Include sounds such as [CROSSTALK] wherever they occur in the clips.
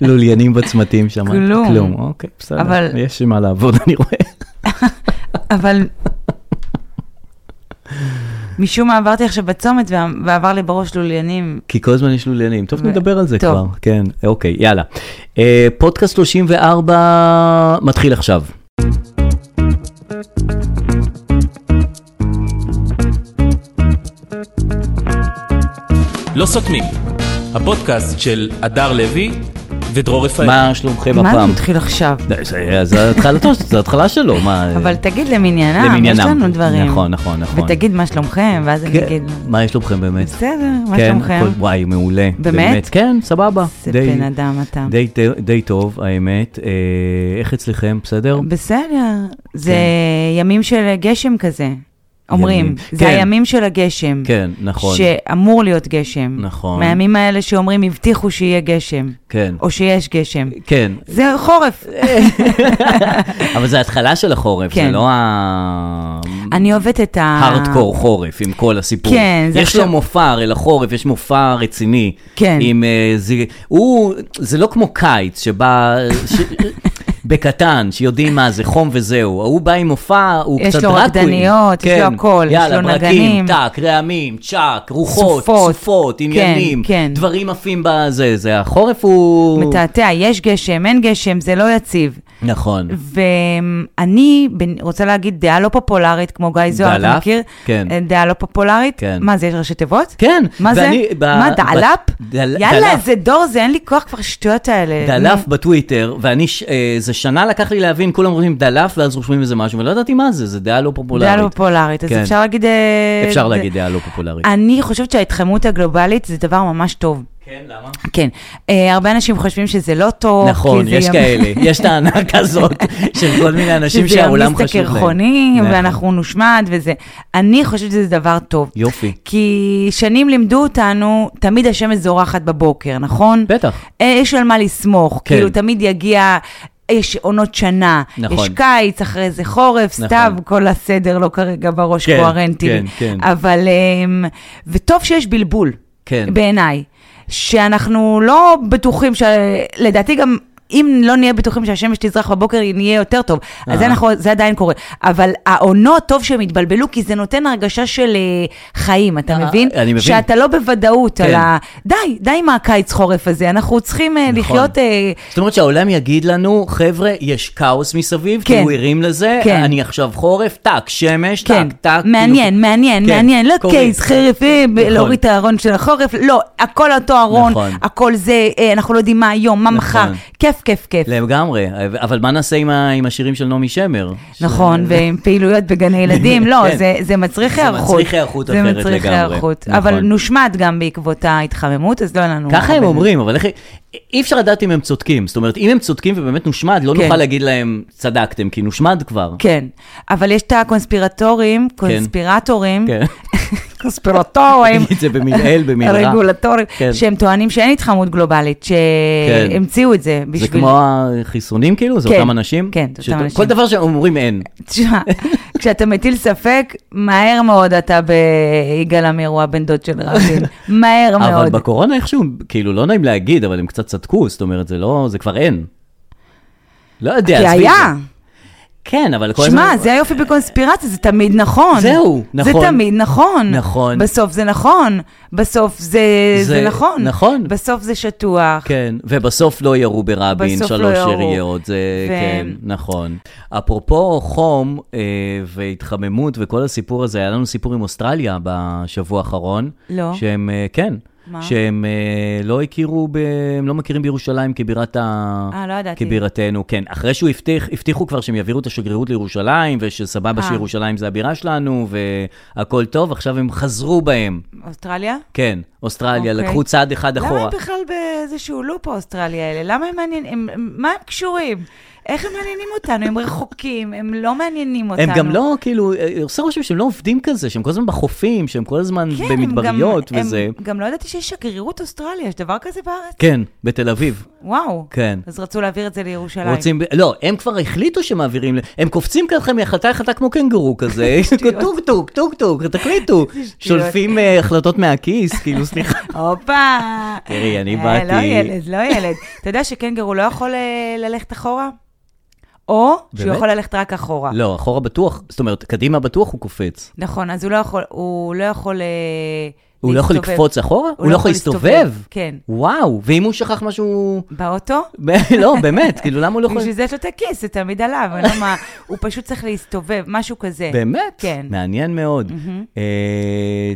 לוליינים בצמתים שם. כלום. כלום, אוקיי, בסדר. אבל- יש עם מה לעבוד, אני רואה. אבל משום מה עברתי עכשיו בצומת וה- ועבר לי בראש לוליינים. כי כל הזמן יש לוליינים. טוב, ו- נדבר על זה טוב. כבר. כן, אוקיי, יאללה. אה, פודקאסט 34 מתחיל עכשיו. לא סותמים, הפודקאסט של הדר לוי ודרור רפאל. מה שלומכם מה זה הפעם? מתחיל עכשיו? זה- זה- זה התחלתו, זה התחלה שלו, מה... אה, אבל תגיד למניינם, למניינם. יש לנו דברים. נכון, נכון, נכון. ותגיד מה שלומכם, ואז אני כן, אגיד, מה יש לכם באמת? בסדר, מה כן, שלומכם? הכל- וואי, מעולה. באמת? כן, סבבה. זה די- בן אדם אתה. די, די, די טוב, האמת. אה, איך אצלכם? בסדר? בסדר, זה ימים של גשם כזה, אומרים. כן. ימים. זה כן. הימים של הגשם. כן, נכון. שאמור להיות גשם. נכון. מהימים האלה שאומרים, הבטיחו שיהיה גשם, כן. או שיש גשם. כן. זה [LAUGHS] חורף. [LAUGHS] אבל זה התחלה של החורף, זה כן. לא ה... אני אוהבת את ה... הארדקור חורף עם כל הסיפור. כן, זה יש עכשיו- לו מופע, הרי לחורף יש מופע רציני. כן. עם אה, זה... הוא... זה לא כמו קיץ שבא... ש... בקטן, שיודעים מה זה, חום וזהו. ההוא בא עם מופע, הוא יש קצת לו דרקווין. רקדניות, יש לו הכל, יש יאללה, לו ברקים, נגנים. טאק, רעמים, צ'אק, רוחות, סופות. סופות, סופות כן, עניינים, כן. דברים עפים בזה. זה החורף הוא... מתעתע, יש גשם, אין גשם, זה לא יציב. נכון. ואני בנ- רוצה להגיד דעה לא פופולרית, כמו גיא זוהר, אתה דעלף? מכיר? כן. דעה לא פופולרית? כן. מה זה, יש ראשי תיבות? כן. מה זה? ואני ב- מה, ב- דעלפ? דל- יאללה, דלף. זה דור זה, אין לי כוח כבר שטויות האלה. דלף בטוויטר, ואני, ש- אה, זה שנה לקח לי להבין, כולם אומרים דלף, ואז רושמים איזה משהו, ולא ידעתי מה זה, זה דעה לא פופולרית. דעה לא פופולרית, אה, אז כן. אפשר להגיד... אה, אפשר ד- להגיד דעה לא פופולרית. אני חושבת שההתחממות הגלובלית זה דבר ממש טוב. כן, למה? כן. אה, הרבה אנשים חושבים שזה לא טוב. נכון, כי זה יש ים- כאלה, יש טענה [LAUGHS] כזאת של כל מיני אנשים שהעולם חשוב שזה להם. ירמיס את הקרחונים, נכון. ואנחנו נושמד וזה. אני חושבת שזה דבר טוב. יופי. כי שנים לימדו אותנו, תמיד השמש זורחת בבוקר, נכון? בטח. אה, יש על מה לסמוך, כן. כאילו תמיד יגיע... יש עונות שנה, נכון. יש קיץ, אחרי זה חורף, נכון. סתיו, כל הסדר לא כרגע בראש כן, קוהרנטי. כן, כן. אבל, אמ, וטוב שיש בלבול, כן. בעיניי, שאנחנו לא בטוחים, ש... לדעתי גם... אם לא נהיה בטוחים שהשמש תזרח בבוקר, נהיה יותר טוב. אז זה, אה. אנחנו, זה עדיין קורה. אבל העונות, טוב שהם התבלבלו, כי זה נותן הרגשה של אה, חיים, אתה אה, מבין? אני מבין. שאתה לא בוודאות על כן. ה... די, די עם הקיץ-חורף הזה, אנחנו צריכים אה, נכון. לחיות... אה, זאת אומרת שהעולם יגיד לנו, חבר'ה, יש כאוס מסביב, כן. תהיו ערים לזה, כן. אני עכשיו חורף, טאק, שמש, כן, טאק, טאק. מעניין, מעניין, כאילו. כן, מעניין, לא קורה. קייס חרף, אה, ב- נכון. להוריד את הארון של החורף, לא, הכל אותו ארון, נכון. הכל זה, אה, אנחנו לא יודעים מה היום, מה נכון. מחר, כיף, כיף, כיף. כאילו, לגמרי, אבל מה נעשה עם ה- עם השירים של נעמי שמר? נכון, ש- ועם פעילויות [LAUGHS] בגני ילדים, לא, כן. זה- זה מצריך זה היערכות. מצריך היערכות אחרת זה מצריך לגמרי. היערכות, נכון. אבל נושמט גם בעקבות ההתחממות, אז לא היה לנו... ככה הם הרבה- אומרים, אבל איך... אי אפשר לדעת אם הם צודקים. זאת אומרת, אם הם צודקים ובאמת נושמד, לא כן. נוכל להגיד להם, צדקתם, כי נושמד כבר. כן, אבל יש את הקונספירטורים, קונספירטורים, כן. קונספירטורים, תגיד את זה במנהל, במנהרה. רגולטורים, כן. שהם טוענים שאין התחממות גלובלית, שהמציאו את זה זה בשביל... כמו החיסונים כאילו? זה כן, אותם אנשים? כן, זה אותם אנשים. כל דבר שהם אומרים אין. [LAUGHS] תשמע, כשאתה מטיל ספק, מהר מאוד אתה ביגאל עמיר, הוא הבן דוד של [LAUGHS] רבין, מהר אבל לא מאוד. בקורונה איכשהו, כאילו, לא נעים להגיד, אבל הם קצת צדקו, זאת אומרת, זה לא, זה כבר אין. לא יודע, כי עזבי את זה. היה. כן, אבל כל שמע, הזמן- זה היופי בקונספירציה, זה תמיד נכון. זהו, נכון. זה תמיד נכון. נכון. בסוף זה נכון. בסוף זה, זה, זה- נכון. נכון. בסוף זה שטוח. כן, ובסוף לא ירו ברבין, בסוף לא שלוש ירו. יריות, זה ו- כן, נכון. אפרופו חום אה, והתחממות וכל הסיפור הזה, היה לנו סיפור עם אוסטרליה בשבוע האחרון. לא. שהם, אה, כן. מה? שהם אה, לא הכירו, ב... הם לא מכירים בירושלים כבירת ה... אה, לא ידעתי. כבירתנו, כן. אחרי שהוא הבטיח, הבטיחו כבר שהם יעבירו את השגרירות לירושלים, ושסבבה אה. שירושלים זה הבירה שלנו, והכל טוב, עכשיו הם חזרו בהם. אוסטרליה? כן, אוסטרליה, אוקיי. לקחו צעד אחד למה אחורה. הם בכלל באיזשהו לופ האוסטרליה האלה? למה הם מעניינים? הם- הם- מה הם קשורים? איך הם מעניינים אותנו? הם רחוקים, הם לא מעניינים אותנו. הם גם לא, כאילו, אה, עושה רושם שהם לא עובדים כזה, שהם כל הזמן בחופים, שהם כל הזמן כן, הם במדבריות גם, וזה. הם, גם לא ידעתי שיש שגרירות אוסטרליה, יש דבר כזה בארץ? כן, בתל אביב. וואו. כן. אז רצו להעביר את זה לירושלים. רוצים, לא, הם כבר החליטו שמעבירים, ל- הם קופצים ככה מהחלטה החלטה כמו קנגורו כזה, [LAUGHS] שטויות. טוק טוק טוק טוק, [LAUGHS] תקליטו, שולפים אה, החלטות מהכיס, כאילו סליחה. הופה. [LAUGHS] תראי, אני אה, לא באתי- ילד, לא ילד. אתה יודע שקנגרו לא יכול אה, ללכת אחורה? או שהוא באמת? יכול ללכת רק אחורה. לא, אחורה בטוח, זאת אומרת, קדימה בטוח הוא קופץ. נכון, אז הוא לא יכול, הוא לא יכול אה, הוא לא יכול להסתובב. לקפוץ אחורה? הוא לא יכול להסתובב? כן. וואו, ואם הוא שכח משהו... [LAUGHS] באוטו? לא, באמת, כאילו, למה הוא לא יכול... בשביל זה יש לו את הכיס, זה תמיד עליו, אני לא [LAUGHS] יודעת מה, הוא פשוט צריך להסתובב, משהו כזה. באמת? כן. מעניין מאוד.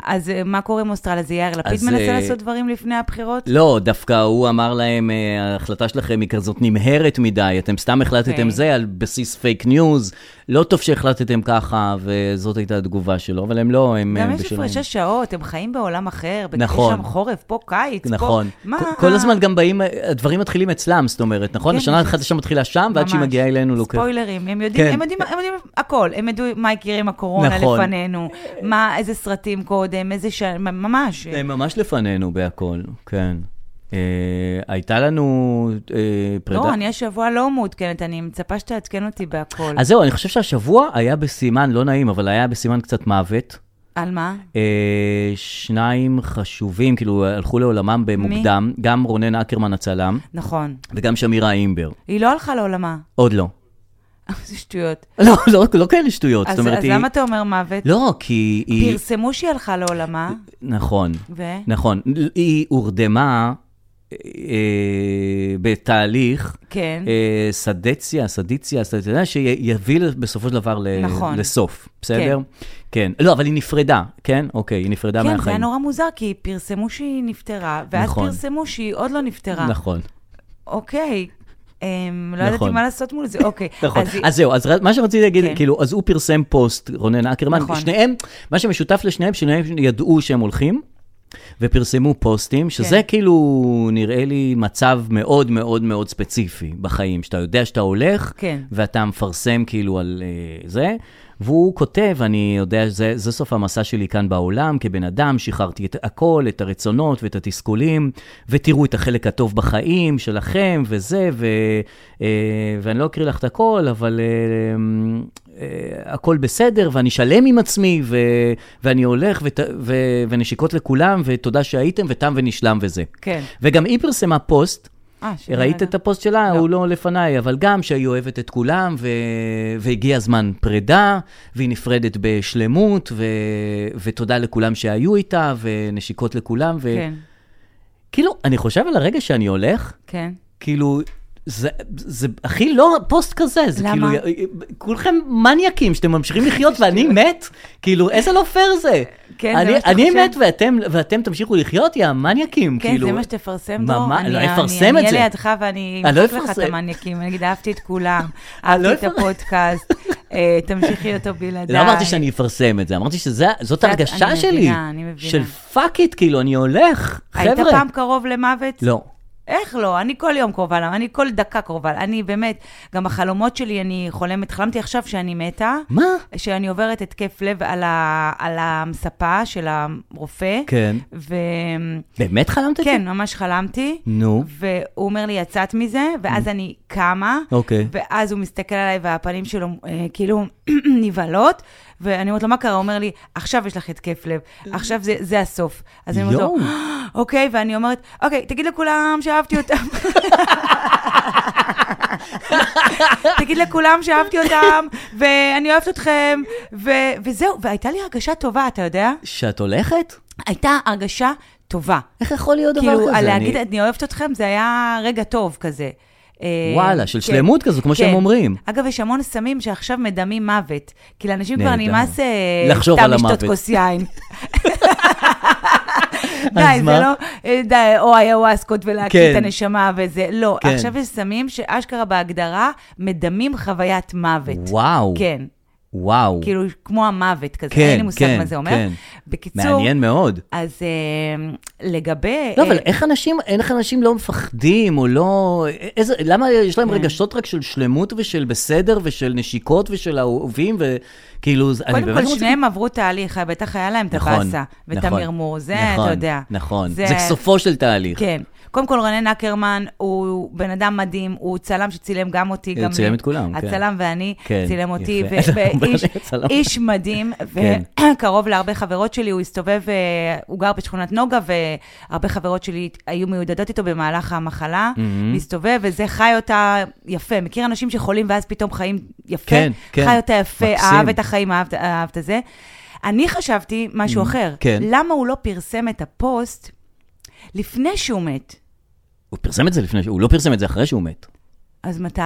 אה, אז אה, מה קורה עם אוסטרליה? זה יאיר לפיד אז, מנסה אה, לעשות דברים לפני הבחירות? לא, דווקא הוא אמר להם, "אה, ההחלטה שלכם היא כזאת נמהרת מדי, אתם סתם החלטתם אוקיי. זה על בסיס פייק ניוז, לא טוב שהחלטתם ככה, וזאת הייתה התגובה שלו, אבל הם לא, הם גם הם יש הפרשי שעות, הם חיים בעולם אחר, ב- יש נכון. שם חורף, פה קיץ, פה... נכון. מה? כל- כל הזמן גם באים, אה, הדברים מתחילים אצלם, זאת אומרת, נכון? כן, השנה ממש. החדשה מתחילה שם, ועד שהיא ממש. מגיעה אלינו לוקח. ספוילרים, הם יודעים, כן. הם יודעים, הם יודעים הכל, הם ידעו מה יקרה עם הקורונה נכון. לפנינו, מה, איזה סרטים קודם, איזה ש... ממש. הם אה, ממש לפנינו בהכל, כן. אה, הייתה לנו אה, פרידה. לא, אני השבוע לא מעודכנת, אני מצפה שתעדכן אותי בהכל. אז זהו, אני חושב שהשבוע היה בסימן, לא נעים, אבל היה בסימן קצת מוות. על מה? אה, שניים חשובים, כאילו, הלכו לעולמם במוקדם, מי? גם רונן אקרמן הצלם, נכון. וגם שמירה אימבר. היא לא הלכה לעולמה. [LAUGHS] עוד לא. [LAUGHS] זה שטויות. לא, לא, לא כאלה שטויות, אז זאת אומרת, אז היא... למה אתה אומר מוות? לא, כי היא... פרסמו שהיא הלכה לעולמה, נכון, ו... נכון. היא הורדמה אה, בתהליך כן. אה, סדציה, סדיציה, סדציה, שיביא בסופו של דבר ל- נכון. לסוף, בסדר? כן. לא, אבל היא נפרדה, כן? אוקיי, היא נפרדה כן, זה היה מהחיים. נורא מוזר, כי פרסמו שהיא נפטרה, ואז נכון. פרסמו שהיא עוד לא נפטרה. נכון. אוקיי, אמ, לא ידעתי נכון. מה לעשות מול זה, אוקיי. [LAUGHS] נכון, אז היא- אז זהו, אז ר- מה שרציתי להגיד, כן. כאילו, אז הוא פרסם פוסט, רונן אקרמן, נכון. שניהם, מה שמשותף לשניהם, שניהם ידעו שהם הולכים, ופרסמו פוסטים, שזה כן. כאילו, נראה לי, מצב מאוד מאוד מאוד ספציפי בחיים, שאתה יודע שאתה הולך, כן. ואתה מפרסם כאילו על אה, זה. והוא כותב, אני יודע, זה, זה סוף המסע שלי כאן בעולם, כבן אדם, שחררתי את הכל, את הרצונות ואת התסכולים, ותראו את החלק הטוב בחיים שלכם וזה, ו, אה, ואני לא אקריא לך את הכל, אבל אה, אה, הכל בסדר, ואני שלם עם עצמי, ו, ואני הולך, ות, ו, ונשיקות לכולם, ותודה שהייתם, ותם ונשלם וזה. כן. וגם היא פרסמה פוסט, אה, שלא ראית ידע. את הפוסט שלה? לא. הוא לא לפניי, אבל גם שהיא אוהבת את כולם, ו... והגיע הזמן פרידה, והיא נפרדת בשלמות, ו... ותודה לכולם שהיו איתה, ונשיקות לכולם, ו... כן, כאילו, אני חושב על הרגע שאני הולך, כן. כאילו, זה, זה הכי לא פוסט כזה, זה למה? כאילו, כולכם מניאקים שאתם ממשיכים לחיות ואני [LAUGHS] מת, כאילו, איזה לא פייר זה. כן, זה אני, מה שאתה אני חושב? מת ואתם, ואתם תמשיכו לחיות, יא מניאקים, כן, כאילו. זה מה שתפרסם, דרור. ממש, אני- לא אני- אפרסם את אני זה. אהיה לידך ואני אני לא אמחק לך את אפרסם. המניאקים. נגיד, אהבתי את [LAUGHS] כולם, אהבתי לא את אפרסם. הפודקאסט, אה, תמשיכי אותו בלעדיי. לא אמרתי שאני אפרסם את זה, אמרתי שזאת אני הרגשה מבינה, שלי. אני מבינה. של פאק איט, כאילו, אני הולך, חבר'ה. היית פעם קרוב למוות? לא. איך לא? אני כל יום קרובה למוות, אני כל דקה קרובה. אני באמת, גם החלומות שלי, אני חולמת, חלמתי עכשיו שאני מתה. מה? שאני עוברת התקף לב על, ה, על המספה של הרופא. כן. ו... באמת חלמת את זה? כן, ממש חלמתי. נו. Mm. והוא אומר לי, יצאת מזה, ואז אני קמה. אוקיי. ואז הוא מסתכל עליי והפנים שלו אה, כאילו [CLEARS THROAT] נבהלות, ואני אומרת לו, מה קרה? הוא אומר לי, עכשיו יש לך התקף לב, עכשיו זה, זה הסוף. אז אני אומרת לו, יואו. אוקיי, ואני אומרת, אוקיי, תגיד לכולם שאהבתי אותם. [LAUGHS] תגיד לכולם שאהבתי אותם, ואני אוהבת אתכם, ו- וזהו, והייתה לי הרגשה טובה, אתה יודע? שאת הולכת? הייתה הרגשה טובה. איך יכול להיות דבר כזה? כאילו, על להגיד, אני- אני אוהבת אתכם, זה היה רגע טוב כזה. אה, כן. וואלה, של שלמות כזו, כמו שהם אומרים. אגב, יש המון סמים שעכשיו מדמים מוות. כי לאנשים כבר נהדר. נמאס... אה, לחשוב סתם על המוות. לשתות [LAUGHS] כוס יין. אז די, זה מה? לא... אה, די, או איוואסקות ולהקיא כן. את הנשמה וזה. לא, כן. עכשיו יש סמים שאשכרה בהגדרה מדמים חוויית מוות. וואו. כן. וואו. כאילו, כמו המוות כזה, כן, אין לי מושג כן, מה זה אומר. כן. בקיצור, מעניין מאוד. אז אה, לגבי... לא, אה, אבל איך אנשים, איך אנשים לא מפחדים, או לא... איזה, למה יש כן. להם רגשות רק של שלמות ושל בסדר, ושל נשיקות, ושל אהובים, וכאילו, זה- אני קודם באמת כל, רוצה... שניהם עברו תהליך, אה, בטח היה להם את הבאסה, ואת המרמור, זה, נכון, אתה יודע. נכון, זה סופו של תהליך. כן. קודם כל, רונן אקרמן הוא בן אדם מדהים, הוא צלם שצילם גם אותי, הוא גם... צילם לי. את כולם, כן. הצלם ואני, כן, צילם אותי, [LAUGHS] יפה. הוא ואיש באמת צלם. [LAUGHS] איש מדהים, כן. [CLEARS THROAT] וקרוב להרבה חברות שלי, הוא הסתובב, אה, הוא גר בשכונת נוגה, והרבה חברות שלי היו מיודדות איתו במהלך המחלה, Mm-hmm. והסתובב, וזה חי אותה יפה. מכיר אנשים שחולים ואז פתאום חיים יפה? כן, כן. חי אותה יפה, מקסים. אהב את החיים, אהב, אהב את זה. אני חשבתי משהו אחר. כן. למה הוא לא פרסם את הפוסט לפני שהוא מת? הוא פרסם את זה לפני, ש- הוא לא פרסם את זה אחרי שהוא מת. אז מתי?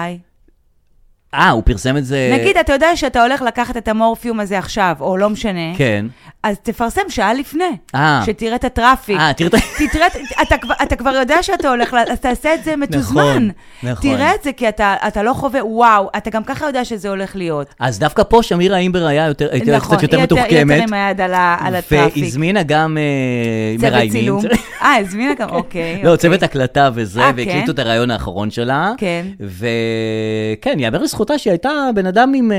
אה, הוא פרסם את זה... נגיד, אתה יודע שאתה הולך לקחת את המורפיום הזה עכשיו, או לא משנה, כן. אז תפרסם שעה לפני, אה. שתראה את הטראפיק. אה, תראה את ה... [LAUGHS] תתראה, אתה, כבר- אתה כבר יודע שאתה הולך, ל- אז תעשה את זה מתוזמן. נכון. תראה את זה, כי אתה, אתה לא חווה, וואו, אתה גם ככה יודע שזה הולך להיות. אז דווקא פה שמירה אימבר היה יותר, הייתה נכון, קצת יותר היא מתוחכמת. היא יותר עם היד על, ה- על הטראפיק. והזמינה גם אה, צוות מראיינים. [LAUGHS] צילום. אה, הזמינה גם, אוקיי. לא, אוקיי. צוות הקלטה וזה, אה, והקליטו כן? את הרעיון האחרון שלה. כן. וכן, יאמר לזכותה שהיא הייתה בן אדם עם אה,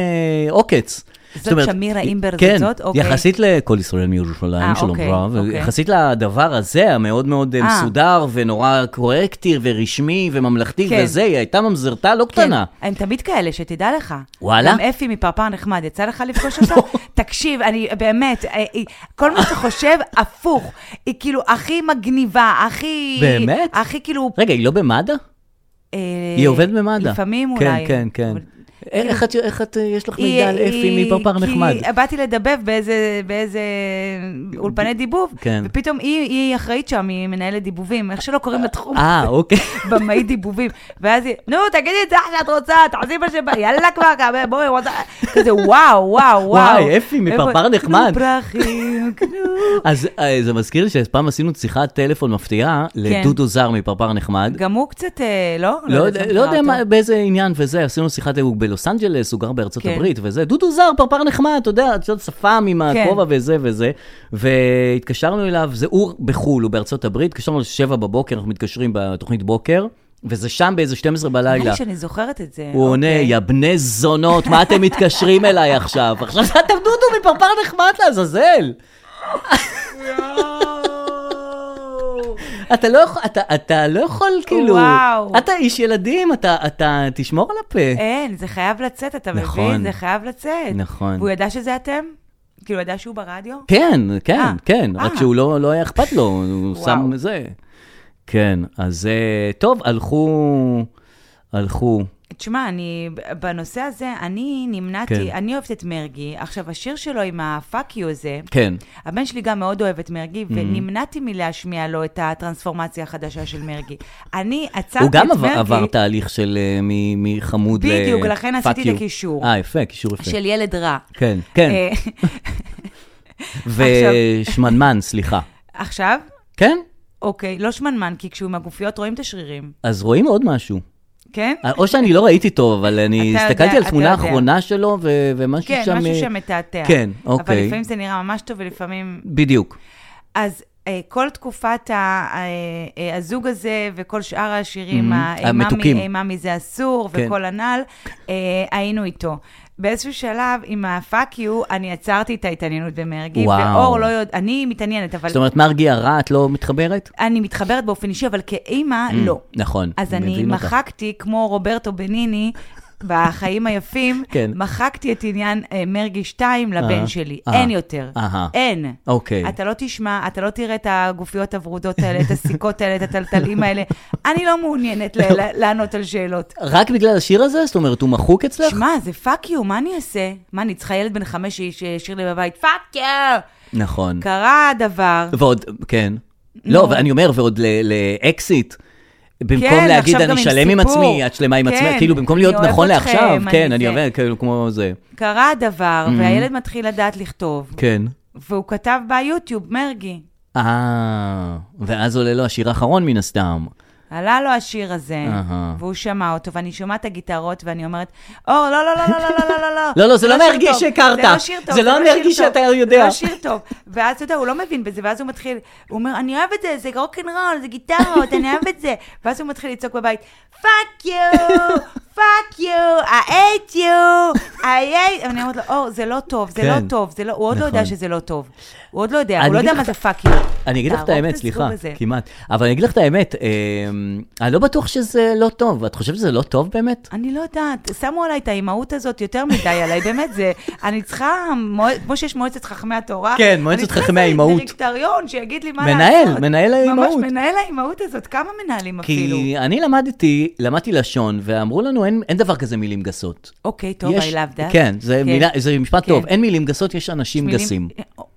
עוקץ. זאת שמירה אימבר, זאת כן, זאת? אוקיי. יחסית לכל ישראל מירושלים, אה, שלום אוקיי, רב, אוקיי. יחסית לדבר הזה, המאוד מאוד אה, אה. מסודר ונורא קורקטי ורשמי וממלכתי כן. וזה, היא הייתה ממזרתה לא קטנה. כן, הם תמיד כאלה, שתדע לך. וואלה? לא. גם אפי מפרפר נחמד, יצא לך [LAUGHS] לפגוש אותה? תקשיב, אני באמת, אה, היא- כל מה שאתה חושב, [LAUGHS] הפוך. היא כאילו הכי מגניבה, הכי... באמת? הכי כאילו... רגע, היא לא במד"א? אה, היא עובדת במד"א. לפעמים כן, אולי. כן, כן. אבל- כן. איך איך את, איך את, יש לך היא- מידע על אפי היא- מפרפר נחמד? כי באתי לדבב באיזה, באיזה אולפני דיבוב, כן. ופתאום היא, היא אחראית שם, היא מנהלת דיבובים, איך שלא קוראים לתחום. אה, אוקיי. במאי דיבובים, ואז היא, נו, תגידי את זה איך שאת רוצה, תעשי מה שבא, יאללה כבר, כמה, בואי, וואו, כזה וואו, וואו, וואו. וואי, אפי, מפרפר נחמד. קנו פרחים, קנו. אז אה, זה מזכיר לי שפעם עשינו שיחת טלפון מפתיעה לדודו זר מפרפר נחמד. כן. גם הוא קצת, אה, לא? לא איך יודע- אני לא מכירה יודע אותו. מה- באיזה עניין וזה, עשינו שיחת, הוא בלוס אנג'לס, הוא גר בארצות כן. הברית וזה, דודו זר, פרפר נחמד, אתה יודע, את יודעת, שפם עם כן. הכובע וזה וזה, והתקשרנו אליו, זה הוא בחו"ל, הוא בארצות הברית, התקשרנו לשבע בבוקר, אנחנו מתקשרים בתוכנית בוקר, וזה שם באיזה 12 נראה בלילה. לי שאני זוכרת את זה. הוא עונה, אוקיי. יא בני זונות, מה אתם מתקשרים אליי עכשיו? עכשיו אתם דודו מפרפר נחמד לעזאזל. אתה לא יכול, אתה, אתה לא יכול, כאילו, וואו. אה. אתה איש ילדים, אתה, אתה תשמור על הפה. אין, זה חייב לצאת, אתה נכון. מבין? זה חייב לצאת. נכון. והוא ידע שזה אתם? כאילו, ידע שהוא ברדיו? כן, כן, אה, כן, אה. רק שהוא לא, לא היה אכפת לו, [LAUGHS] הוא וואו. שם זה. כן, אז אה, טוב, הלכו, הלכו. תשמע, אני, בנושא הזה, אני נמנעתי, כן. אני אוהבת את מרגי. עכשיו, השיר שלו עם ה-fuck you הזה, כן, הבן שלי גם מאוד אוהב את מרגי, ונמנעתי מלהשמיע לו את הטרנספורמציה החדשה של מרגי. אני עצרתי הוא את מרגי... גם עבר, עבר תהליך של אה, מ- מחמוד ל... בדיוק, לכן fuck עשיתי את you. הקישור. אה, יפה, קישור יפה. של ילד רע. כן, כן, אה, [LAUGHS] ושמנמן, סליחה. עכשיו, כן, אוקיי, לא שמנמן, כי כשהוא עם הגופיות רואים את השרירים, אז רואים עוד משהו. כן? או שאני לא ראיתי טוב, אבל אני אתה הסתכלתי יודע, על אתה תמונה יודע. האחרונה שלו ו- ומשהו שם... כן, משהו אה, שמתעתע. כן, אוקיי. אבל לפעמים זה נראה ממש טוב, ולפעמים בדיוק. אז אה, כל תקופת ה, אה, אה, הזוג הזה וכל שאר השירים, Mhm. mm-hmm. המתוקים. אימאמי זה אסור כן. וכל הנ"ל, אה, היינו איתו. באיזשהו שלב, עם ה-fuck you, אני עצרתי את ההתעניינות במרגי, וואו. ואור לא יודע, אני מתעניינת, אבל זאת אומרת, מרגי הרע, את לא מתחברת? אני מתחברת באופן אישי, אבל כאימא, לא. נכון, אז אני מבין אותך. מחקתי, כמו רוברטו בניני, בחיים היפים, [LAUGHS] כן. מחקתי את עניין אה, מרגי 2 אהה, לבן שלי. אהה, אין יותר. אה, אהה. אין. אוקיי. אתה לא תשמע, אתה לא תראה את הגופיות הוורודות האלה, את הסיכות האלה, את הטלטלים האלה. אני לא מעוניינת ל- [LAUGHS] ל- לענות על שאלות. רק בגלל השיר הזה? זאת אומרת, הוא מחוק אצלך? שמע, זה פאק יו, מה אני אעשה? מה, אני צריכה ילד בן חמש ש- שישיר לי בבית, פאק יו! נכון. קרה הדבר. ועוד, כן. לא, ואני אומר, ועוד ל- לאקזיט. במקום כן, להגיד, עכשיו גם אני עם שלם עם סיפור. עצמי, את שלמה עם כן, עצמך, כאילו, במקום אני להיות אוהב נכון אתכם, לעכשיו, אני כן, אני זה. עובד, כאילו, כמו זה. קרה הדבר, Mm-hmm. והילד מתחיל לדעת לכתוב, כן. והוא כתב ביוטיוב, מרגי. אה, ואז עולה לו השיר האחרון מן הסתם. עלה לו השיר הזה, אהה. והוא שמע אותו, ואני שומעת את הגיטרות, ואני אומרת, אור, לא, לא, לא, לא, לא, לא, לא, לא, לא. לא, לא, זה לא שיר מהרגיש טוב, שהכרת. זה לא שיר טוב. זה לא מהרגיש שיר טוב, שאתה יודע. זה לא שיר טוב. ואז אתה יודע, הוא לא מבין בזה, ואז הוא מתחיל, הוא אומר, אני אוהב את זה, זה רוקנרול, זה גיטרות, אני אוהב את זה. [LAUGHS] ואז הוא מתחיל לצעוק בבית, פאק יו, פאק יו, I hate you, I hate... אני אומרת לו, אור, זה לא טוב, זה כן. לא טוב, זה לא... הוא עוד לא יודע נכון. שזה לא טוב. הוא עוד לא יודע, אני הוא לא אגיד יודע לך מה את זה ה- פאק יו. אני אגיד לך את תהרוג האמת, הסוג סליחה, הזה. כמעט. אבל אני אגיד לך את האמת, אה, אני לא בטוח שזה לא טוב. את חושבת שזה לא טוב באמת? אני לא יודעת, שמו עליי את האימהות הזאת יותר מדי [LAUGHS] עליי, באמת, זה, אני צריכה, מוע- כמו שיש מועצת חכמי התורה, כן, מועצת חכמי האימהות. אני צריכה דירקטוריון שיגיד לי מה מנהל, לעשות. מנהל האימהות. ממש מנהל האימהות הזאת, כמה מנהלים אפילו. כי אני למדתי, למדתי לשון, ואמרו לנו, אין, אין דבר כזה מילים גסות. אוקיי, טוב, I love that. כן, זה, כן. מילה, זה משפט כן. טוב. אין מילים גסות, יש אנשים מילים- אה, גסים.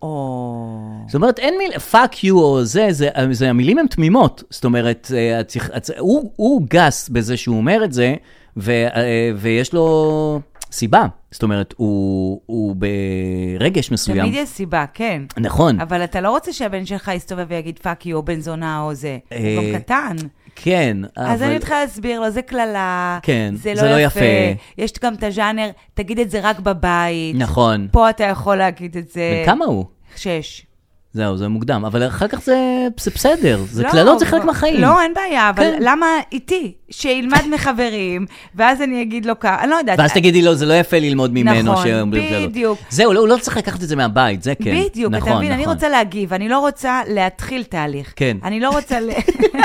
או... זאת אומרת, אין מיל... פאק יו או זה, זה, זה, המילים הן תמימות. זאת אומרת, אה, את צריך- את- הוא, הוא גס בזה שהוא אומר את זה, ו, אה, ויש לו סיבה. זאת אומרת, הוא, הוא ברגש מסוים. תמיד יש סיבה, כן. נכון, אבל אתה לא רוצה שהבן שלך יסתובב ויגיד פאק יו, בן זונה או זה. הוא אה, גם קטן. כן, אבל... אז אני צריכה להסביר לו, זה קללה, כן, זה זה לא לא יפה. יפה. יש גם את הז'אנר, תגיד את זה רק בבית. נכון. פה אה, אתה יכול להגיד את זה. בן כמה הוא? שש. זהו, זה מוקדם. אבל אחר כך זה, זה בסדר, זה לא, קללות, זה חלק כבר- מהחיים. לא, אין בעיה, אבל כן. למה איתי? שילמד [LAUGHS] מחברים, ואז אני אגיד לו ככה, אני לא יודעת. ואז תגידי לו, זה לא יפה ללמוד ממנו נכון, שאומרים קללות. בדיוק. זהו, לא, הוא לא צריך לקחת את זה מהבית, זה כן. אה, בדיוק, נכון, אתה מבין? אני נכון. רוצה להגיב, אני לא רוצה להתחיל תהליך. כן. אני לא רוצה ל- [LAUGHS]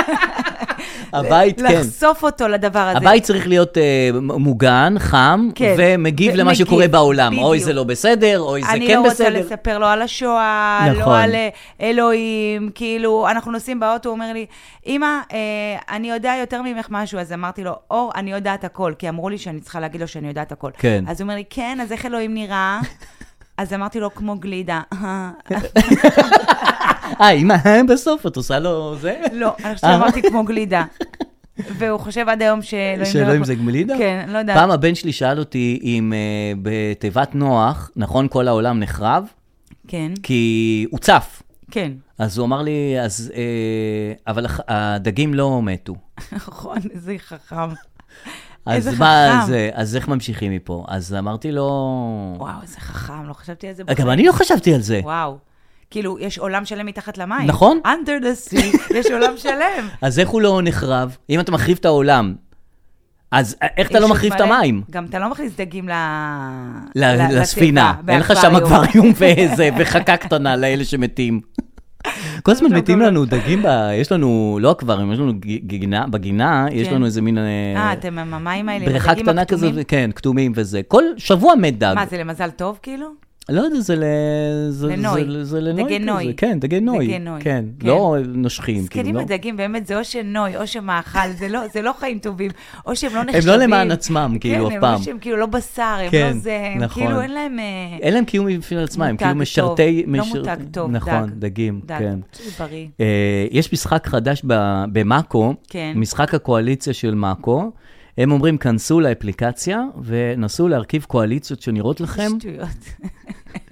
הבית, [LAUGHS] כן. לחשוף אותו לדבר הזה. הבית צריך להיות אה, מ- מוגן, חם, כן. ומגיב למה ומגיב, שקורה בעולם. בדיוק. אוי, זה לא בסדר, אוי, זה אני כן לא רוצה בסדר. לספר לו על השואה, נכון. לא על אה, אלוהים, כאילו, אנחנו נוסעים באוטו, הוא אומר לי, אמא, אה, אני יודע יותר ממך משהו, אז אמרתי לו, אור, אני יודעת הכל, כי אמרו לי שאני צריכה להגיד לו שאני יודעת הכל. כן. אז הוא אומר לי, כן, אז איך אלוהים [LAUGHS] נראה? אז אמרתי לו, כמו גלידה. [LAUGHS] אה, אמא, אה, [LAUGHS] בסוף את עושה לו זה? לא, אני אה? חושבת שאמרתי כמו גלידה. והוא חושב עד היום שאלוהים... לא שאלוהים יכול- זה גמלידה? כן, לא יודעת. פעם הבן שלי שאל אותי אם אה, בתיבת נוח, נכון, כל העולם נחרב? כן, כי הוא צף. כן. [LAUGHS] אז הוא אמר לי, אז... אה, אבל הח- הדגים לא מתו. נכון, איזה חכם. אז איזה מה חכם. זה? אז איך ממשיכים מפה? אז אמרתי לו... וואו, איזה חכם, לא חשבתי על זה. גם אני לא חשבתי על זה. וואו. כאילו, יש עולם שלם מתחת למים. נכון. under the [LAUGHS] sea, יש עולם שלם. אז איך הוא לא נחרב? אם אתה מחריב את העולם, אז איך אתה לא יש מחריב את עוד מלא- המים? גם אתה לא מכניס דגים ל... ל- ל- לתיבה, לספינה. אין לך שם באקווריום. [LAUGHS] אקווריום ואיזה, וחכה קטנה לאלה שמתים. כל לא, הזמן מתים לנו דגים, ב- יש לנו, לא אקווריום, יש לנו ג- גינה, בגינה יש כן. לנו איזה מין... אה, אה, אתם עם המים האלה, עם בריכה הדגים קטנה כזו, הכתומים? כן, כתומים וזה. כל שבוע מת דג. מה, זה למזל טוב, כאילו? לא יודע, זה ל... זה- לנוי. זה- זה לנוי. דגי כזה. נוי. כן, דגי נוי. דגי נוי, כן, כן. לא נושכים. זקנים כאילו, לא- ודגים, באמת, זה או שנוי, או שמאכל, זה לא- זה לא חיים טובים, או שהם לא הם נחשבים. לא למען עצמם, כאילו, אף כן, הם פעם. לא שהם כאילו לא בשר, הם כן, לא זה, הם נכון. כאילו אין להם... אה, אין להם קיום בפני עצמם, הם מותג כאילו טוב, משרתי... לא משרת- מותג טוב, נכון, דג. דגים, דג, כן. זה בריא. אה, יש משחק חדש ב- במאקו, כן. משחק הקואליציה של מאקו. הם אומרים, כנסו לאפליקציה ונסו להרכיב קואליציות שנראות לכם, שטויות.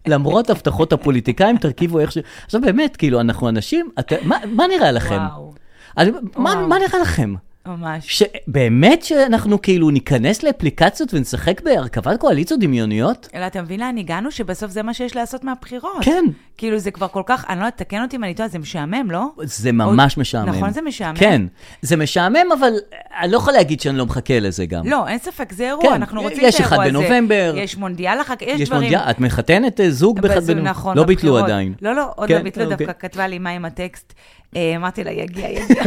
למרות הבטחות הפוליטיקאים, תרכיבו איך ש... עכשיו באמת, כאילו, אנחנו אנשים, את... מה, מה נראה לכם? וואו, אני- מה, וואו. מה נראה לכם? ממש. שבאמת שאנחנו כאילו ניכנס לאפליקציות ונשחק בהרכבת קואליציות דמיוניות? אלא אתה מבין לאן הגענו? שבסוף זה מה שיש לעשות מהבחירות. כן. כאילו זה כבר כל כך, אני לא יודעת, תקן אותי אם אני טועה, זה משעמם, לא? זה ממש או- משעמם. נכון, זה משעמם. כן, זה משעמם, אבל אני לא יכול להגיד שאני לא מחכה לזה גם. לא, אין ספק, זה אירוע, כן, אנחנו רוצים יש את האירוע אחד הזה. בנובמבר. יש מונדיאל אחר כך, יש יש דברים. מונדיאל, את מחתנת אה, זוג אבל באחד זה בנ- נכון, לא ביטלו בבחירות. עדיין. לא, לא, עוד כן, לא ביטלו אוקיי. דווקא, כתבה לי מה עם הטקסט. אה, אמרתי לה, יגיע, [LAUGHS] יגיע.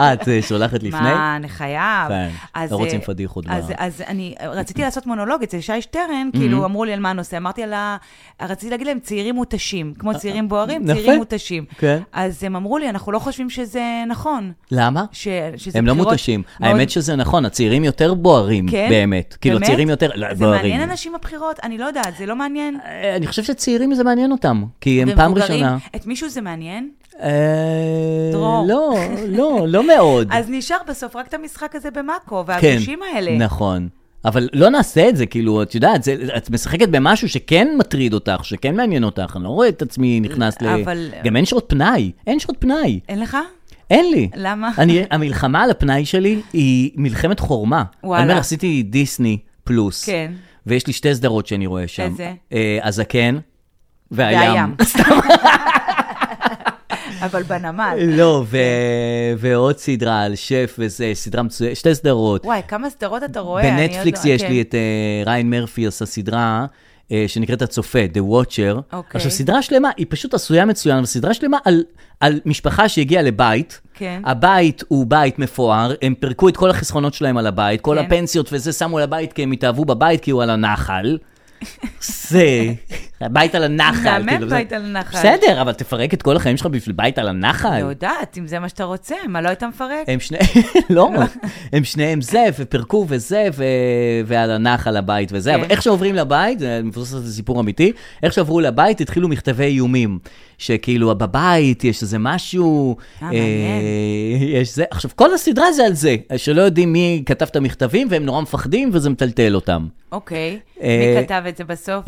אה, את אה, שולחת לפני? מה, אני חייב. כן, אז, לא רוצים אה, פדיחות Mm-hmm. ב- אז, אז אני רציתי לעשות מונולוג אצל שי שטרן, כאילו אמרו לי על מה הנושא, אמרתי על ה... רציתי להגיד להם צעירים מותשים, כמו צעירים בוערים, אה, יפה. צעירים מותשים. כן. אז הם אמרו לי, אנחנו לא חושבים שזה נכון. למה? ש, שזה הם לא בחירות מותשים. מאוד- האמת שזה נכון, הצעירים יותר בוערים, כן? באמת. כאילו, באמת? הצעירים יותר לא, זה בוערים. מעניין אנשים הבחירות? אני לא יודעת, זה לא מעניין. אה, אני חושב שצעירים זה מעניין אותם, כי הם פעם ומבוגרים, ראשונה... את מישהו זה מעניין? אה, דרור. לא, לא, לא מאוד. [LAUGHS] אז נשאר בסוף רק את המשחק הזה במאקו, כן, והגושים האלה. נכון. אבל לא נעשה את זה, כאילו, את יודעת, זה, את משחקת במשהו שכן מטריד אותך, שכן מעניין אותך, אני לא רואה את עצמי נכנס ל... אבל- גם אין שעות פנאי, אין שעות פנאי. אין לך? אין לי. למה? אני, המלחמה על הפנאי שלי היא מלחמת חורמה. וואלה. אני אומר, עשיתי דיסני פלוס. כן. ויש לי שתי סדרות שאני רואה שם. איזה? אה, הזקן והים. והים. [LAUGHS] [LAUGHS] אבל בנמל. לא, ו... ועוד סדרה על שף וזה, סדרה מצוינת, שתי סדרות. וואי, כמה סדרות אתה רואה. אני עוד בנטפליקס לא- יש כן. לי את אה, ריין מרפי עשה סדרה אה, שנקראת הצופה, The Watcher. אוקיי. עכשיו, סדרה שלמה, היא פשוט עשויה מצוין, אבל סדרה שלמה על, על משפחה שהגיעה לבית. כן. הבית הוא בית מפואר, הם פירקו את כל החסכונות שלהם על הבית, כל כן. הפנסיות וזה שמו על הבית כי הם התאהבו בבית כי הוא על [LAUGHS] הנחל. זה, הבית על הנחל. מהמם כאילו, זה- בית על הנחל. בסדר, אבל תפרק את כל החיים שלך בשביל בית על הנחל. לא יודעת, אם זה מה שאתה רוצה, מה לא היית מפרק? הם שני... [LAUGHS] לא, הם שניהם זה, ופירקו וזה, ו... ועל הנחל הבית וזה, כן. אבל איך שעוברים לבית, זה מבוסס על סיפור אמיתי, איך שעברו לבית התחילו מכתבי איומים, שכאילו בבית יש איזה משהו, אה, אה, מעניין. יש זה, עכשיו כל הסדרה זה על זה, שלא יודעים מי כתב את המכתבים והם נורא מפחדים וזה מטלטל אותם. אוקיי. אה, מי כתב את זה בסוף?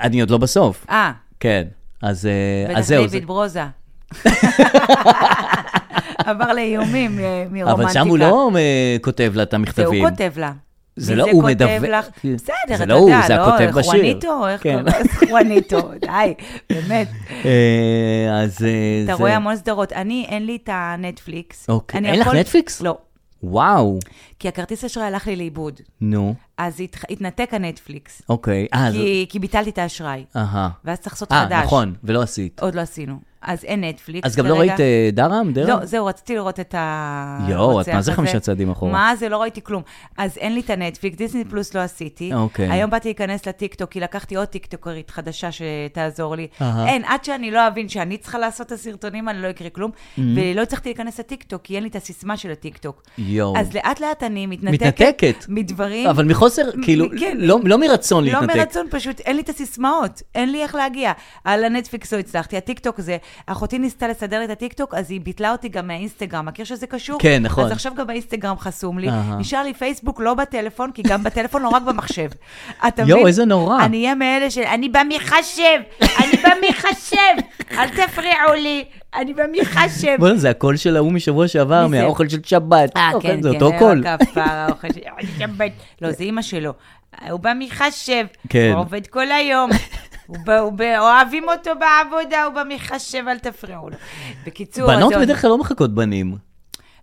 אני עוד לא בסוף, אה, כן, אז, אה, בטח אז זהו. זה- דיוויד [LAUGHS] ברוזה. עבר לאיומים אה, מרומנטיקה. אבל שם הוא לא אה, כותב לה את זה המכתבים. הוא כותב לה. זה מי לא הוא כותב מדווח- לך? זה בסדר, לא אתה הוא, יודע, זה לא, הכותב בשיר. חואניטו, איך כן. קוראים [LAUGHS] לו? חואניטו, די, באמת. אה, אז אה, אתה זה- רואה המון סדרות. אני, אין לי את הנטפליקס. אוקיי. אני אין לך הכל- נטפליקס? לא, וואו, כי הכרטיס אשראי הלך לי לאיבוד. נו, אז התח- התנתק הנטפליקס, אוקיי. אה, אז... כי- כי ביטלתי את האשראי, אהה. ואז צריך לעשות חדש. אה, נכון, ולא עשית. עוד לא עשינו. אז אין נטפליקס. אז גם לא כרגע. ראית אה, דרם? דרם? לא, זהו, רציתי לראות את ה... יואו, את מה הרוצח זה הזה. חמישה צעדים אחורה? מה זה, לא ראיתי כלום. אז אין לי את הנטפליקס, דיסני פלוס לא עשיתי. אוקיי. היום באתי להיכנס לטיקטוק, כי לקחתי עוד טיקטוקרית חדשה שתעזור לי. אהה. אין, עד שאני לא אבין שאני צריכה לעשות את הסרטונים, אני לא אקריא כלום. ולא הצלחתי להיכנס לטיקטוק, כי אין לי את הסיסמה של הטיקטוק. יואו. אז לאט-לאט אני מתנתקת. מתנתקת. מדברים. אבל מחוסר, כאילו, כן. לא לא מרצון לא להתנתק. מרצון, פשוט אין לי את הסיסמאות, אין לי איך להגיע. על הנטפליקס לא הצלחתי, הטיקטוק זה, אחותי ניסתה לסדר לי את הטיקטוק, אז היא ביטלה אותי גם מהאינסטגרם, מכיר שזה קשור? כן, נכון. אז עכשיו גם האינסטגרם חסום לי, אהה. נשאר לי פייסבוק לא בטלפון, כי גם בטלפון, לא רק במחשב. [LAUGHS] אתה מבין? יואו, איזה נורא. אני אהיה מאלה של, אני במחשב, אני במחשב, אל תפריעו לי, אני במחשב. בוא'נה, זה הקול של ההוא משבוע שעבר, מי זה? מהאוכל של שבת. אה, אוכל, כן, לא, זה כן, אותו היה קול. רק כפרה, אוכל ש- אוי, שבת. לא, זה אימא שלו. הוא בא מחשב, כן. הוא עובד כל היום. הוא ב- הוא ב- אוהבים אותו בעבודה, הוא במחשב, אל תפריעו לו. בקיצור, אז בנות עוד- בדרך כלל לא מחכות בנים.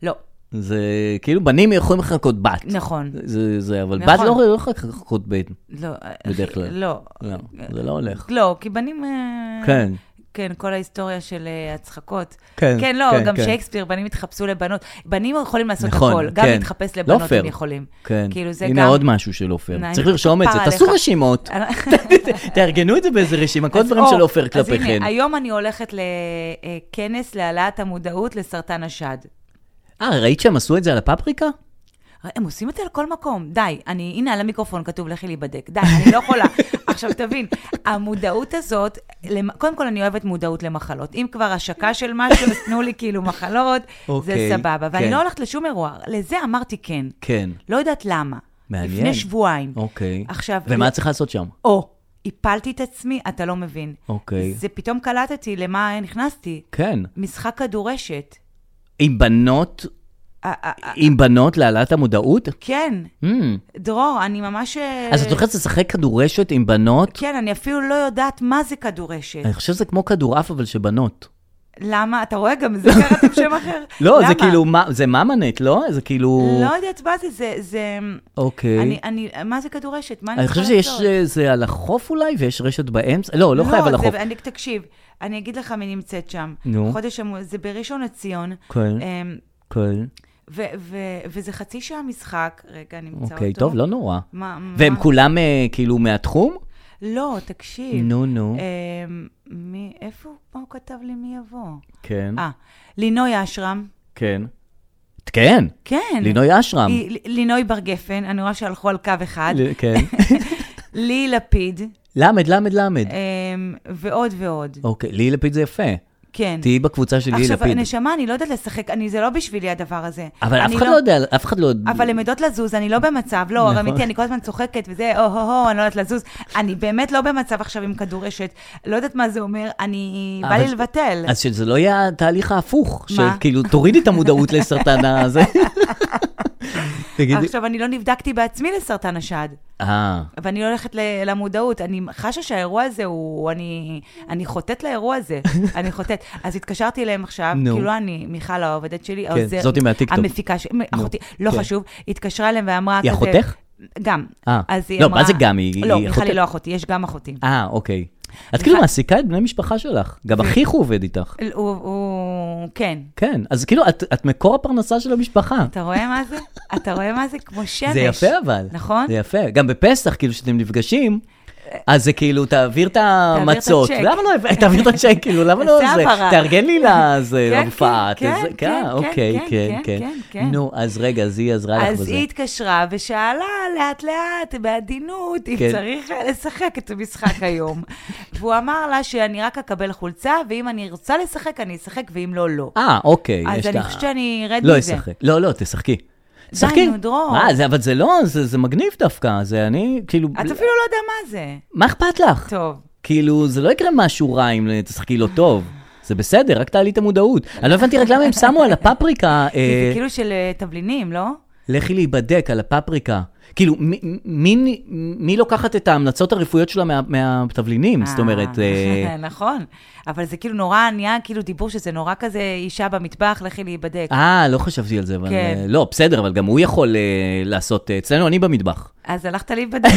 לא, זה כאילו, בנים יכולים לחכות בת. נכון. זה- זה, אבל נכון. בת לא לא יכולה לחכות בן. לא. בדרך אחי, כלל. לא. לא, זה לא הולך. לא, כי בנים... אה, כן. כן, כל ההיסטוריה של אה, הצחקות. כן, כן, לא, כן, גם כן. שייקספיר, בנים התחפשו לבנות. בנים יכולים לעשות נכון, הכל, גם כן. להתחפש לא לבנות פייר. הם יכולים. כן. כאילו, זה הנה גם- [LAUGHS] עוד משהו של עופר. נעים, צריך לרשום את זה, כפרה תעשו עליך. רשימות. [LAUGHS] תארגנו את זה באיזה רשימה, כל אז דברים או, של עופר אז כלפיכם. הנה, היום אני הולכת לכנס להעלאת המודעות לסרטן השד. אה, ראית שהם עשו את זה על הפפריקה? הם עושים את זה לכל מקום, די. אני, הנה, על המיקרופון כתוב, לכי להיבדק. די, אני לא [LAUGHS] יכולה. עכשיו, תבין, המודעות הזאת, למ- קודם כל, אני אוהבת מודעות למחלות. אם כבר השקה של משהו, אז תנו לי כאילו מחלות, זה אוקיי, סבבה. ואני כן. לא הולכת לשום אירוע. לזה אמרתי כן. כן. לא יודעת למה. מעניין. לפני שבועיים. אוקיי. עכשיו... לא, ומה את צריכה לעשות שם? או, הפלתי את עצמי, אתה לא מבין. אוקיי. זה פתאום קלטתי למה נכנסתי. כן. משחק כדורשת. עם בנות, אה, אה, אה, עם בנות להעלאת המודעות? כן, Hmm. דרור, אני ממש... אה, אז את הולכת לשחק כדורשת עם בנות? כן, אני אפילו לא יודעת מה זה כדורשת. אני חושב שזה כמו כדורעף, אבל של בנות. למה? אתה רואה גם, זה קראתם שם אחר. [LAUGHS] לא, זה למה? כאילו, מה- זה ממנט, לא? זה כאילו... לא יודעת מה זה, זה... זה... אוקיי. אני, אני, מה זה כדורשת? מה אני אני צריכה חושב לעשות? שיש, אה, זה על החוף אולי, ויש רשת באמצע? לא, לא חייב על זה- החוף. אני, תקשיב, אני אגיד לך מי נמצאת שם. נו. חודש אמור, זה בראשון לציון. כן. אמ, כן. ו, ו, וזה חצי שעה משחק. רגע, נמצא אותו. אוקיי, טוב, לא נורא. מה, מה? והם כולם אה, כאילו מהתחום? לא, תקשיב. נו, נו. אמ, מי, איפה, הוא- מה הוא כתב לי מי יבוא? כן. אה, לינוי אשרם. כן. כן, כן. לינוי אשרם. היא- ל- לינוי בר גפן, אני רואה שהלכו על קו אחד. ל- כן. [LAUGHS] לי לפיד, למד, למד, למד. אמ, ועוד ועוד. אוקיי, לי לפיד זה יפה. כן. תהיי בקבוצה שלי, עכשיו, לפיד. נשמה, אני לא יודעת לשחק, אני, זה לא בשבילי הדבר הזה. אבל אף אני אחד לא יודע, אף אחד לא... אבל הן יודעות לזוז, אני לא במצב, לא, נכון. נכון. אמיתי, אני כל הזמן צוחקת וזה, או-הו-הו, אני לא יודעת לזוז. אני באמת לא במצב עכשיו עם כדורשת, לא יודעת מה זה אומר, אני, בא אבל- לי לבטל. אז שזה לא יהיה התהליך ההפוך, מה? שכאילו תורידי את המודעות לסרטן [LAUGHS] הזה. תגידי, עכשיו, אני לא נבדקתי בעצמי לסרטן השד, אה, ואני לא הולכת ל- למודעות. אני חשה שהאירוע הזה הוא... אני, אני חוטאת [LAUGHS] לאירוע הזה, אני חוטאת. אז התקשרתי אליהם עכשיו, נו. כאילו אני, מיכל העובדת שלי, כן, זאתי מהטיקטוק. המפיקה שלי, אחותי, לא כן. חשוב, התקשרה אליהם ואמרה היא כזה... אחותך? גם. אה. אז היא לא, אמרה- מה זה גם? היא- לא, היא מיכל אחותך? היא לא אחותי, יש גם אחותי. אה, אוקיי. את כאילו מעסיקה את בני משפחה שלך, כן. גם אחיך הוא עובד איתך. הוא, הוא, כן. כן, אז כאילו את- את מקור הפרנסה של המשפחה. אתה רואה מה זה? אתה רואה מה זה? כמו שמש. זה יפה אבל. כן, נכון? זה יפה. גם בפסח, כאילו, כשאתם נפגשים, אז זה כאילו, תעביר את המצות. הצ'ק. למה לא, הבאת- [LAUGHS] תעביר את הצ'ק, כאילו, למה לא [LAUGHS] זה זה? הבהרה. תארגן לי לזה, [LAUGHS] כן, כן, להופעה. כן, תזה- כן, אה, כן, אוקיי, כן, כן, כן, כן. כן, כן. נו, אז רגע, אז היא עזרה לך אז בזה. היא התקשרה ושאלה לאט-לאט, בעדינות, אם כן. צריך לשחק את המשחק [LAUGHS] היום. והוא אמר לה שאני רק אקבל חולצה, ואם אני רוצה לשחק, אני אשחק, ואם לא, לא. אה, אוקיי. יש אז לה- אני חושבת שאני ארד לא מזה. אשחק. לא, לא, תשחקי. תשחקי. נו, דרור. אה, זה- אבל זה לא, זה זה מגניב דווקא, זה אני, כאילו, את אפילו לא יודע מה זה. מה אכפת לך? טוב. כאילו, זה לא יקרה משהו רע אם תשחקי לא טוב. זה בסדר, רק תעלי את המודעות. אני לא הבנתי רק למה הם שמו על הפפריקה, כי אה, זה כאילו של אה, תבלינים, לא? לכי להיבדק על הפפריקה. כאילו, מי- מי- מי לוקחת את ההמלצות הרפואיות שלה מה- מהתבלינים? זאת אומרת, אה, [LAUGHS] אה, נכון. אבל זה כאילו נורא נהיה כאילו דיבור שזה נורא כזה אישה במטבח, לכי להיבדק. אה, לא חשבתי על זה, אבל... כן. אה, לא, בסדר, אבל גם הוא יכול אה, לעשות... אה, אצלנו אני [LAUGHS] במטבח, אז הלכת [LAUGHS] להיבדק.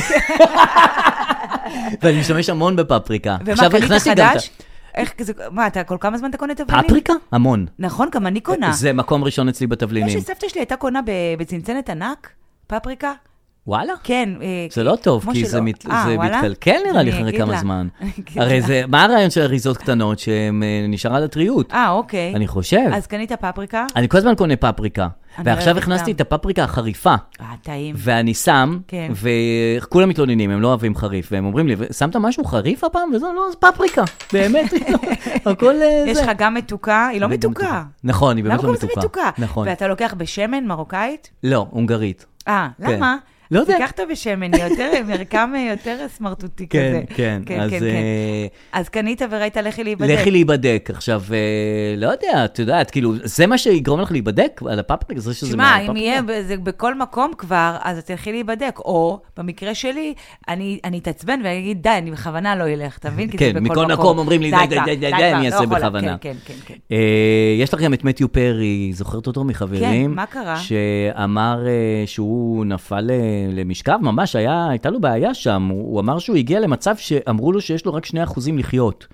ואני משתמש המון בפפריקה. ומה, עכשיו קנית הכנסתי גם את חדש? איך זה, מה, אתה כל כמה זמן אתה קונה ה- תבלינים? פפריקה? המון. נכון, גם אני קונה. זה מקום ראשון אצלי כמו בתבלינים. שסבתא שלי הייתה קונה ב- בצנצנת ענק, פפריקה. וואלה? כן. אה, זה לא טוב, כמו כי שלא. זה, מת, אה, זה וואלה? מתקלקל נראה לי אני אחרי אגיד כמה לה. זמן. [LAUGHS] אני אגיד הרי לה. זה, מה הרעיון של אריזות קטנות שהן אה, נשארה לטריות? אה, אוקיי. אני חושב. אז קנית פפריקה? אני כל הזמן קונה פפריקה, אני ועכשיו אוהבת הכנסתי גם. את הפפריקה החריפה, אה, טעים. ואני שם, כן. וכולם מתלוננים, הם לא אוהבים חריף, והם אומרים לי, "ו- שמת משהו חריף הפעם? וזה לא, זה [LAUGHS] פפריקה, באמת, לא. הכל אה, זה. יש לך גם מתוקה, היא לא וגם מתוקה. נכון, היא למה באמת לא קוראים לזה מתוקה. מתוקה? נכון. ואתה לוקח בשמן מרוקאית? לא, הונגרית. אה, כן. למה? לא יודע. תיקח את בשמן, היא יותר, מרקם אה, יותר סמרטוטי כן, כזה. כן, אז... אה, אז קנית וראית לכי להיבדק. לכי להיבדק. עכשיו, אה, לא יודע, את יודעת, כאילו, זה מה שיגרום לך להיבדק על הפפריקה, זה שזה תשמע, מהפפריקה. אם יהיה בזה בכל מקום כבר, אז את תלכי להיבדק. או, במקרה שלי, אני אני אתעצבן ואני אגיד, די, אני בכוונה לא אלך, אתה מבין? כי זה כן, בכל מקום. מכל מקום אומרים לי, די, די, כבר, די, די, כבר, די, אני לא אעשה יכולה." בכוונה. כן, כן, כן. אה, יש לך גם את מתיו פרי, זוכרת אותו מחברים? כן, מה קרה? שאמר אה, שהוא נפל אה, למשכב, ממש היה, הייתה לו בעיה שם. הוא הוא אמר שהוא הגיע למצב שאמרו לו שיש לו רק 2% לחיות.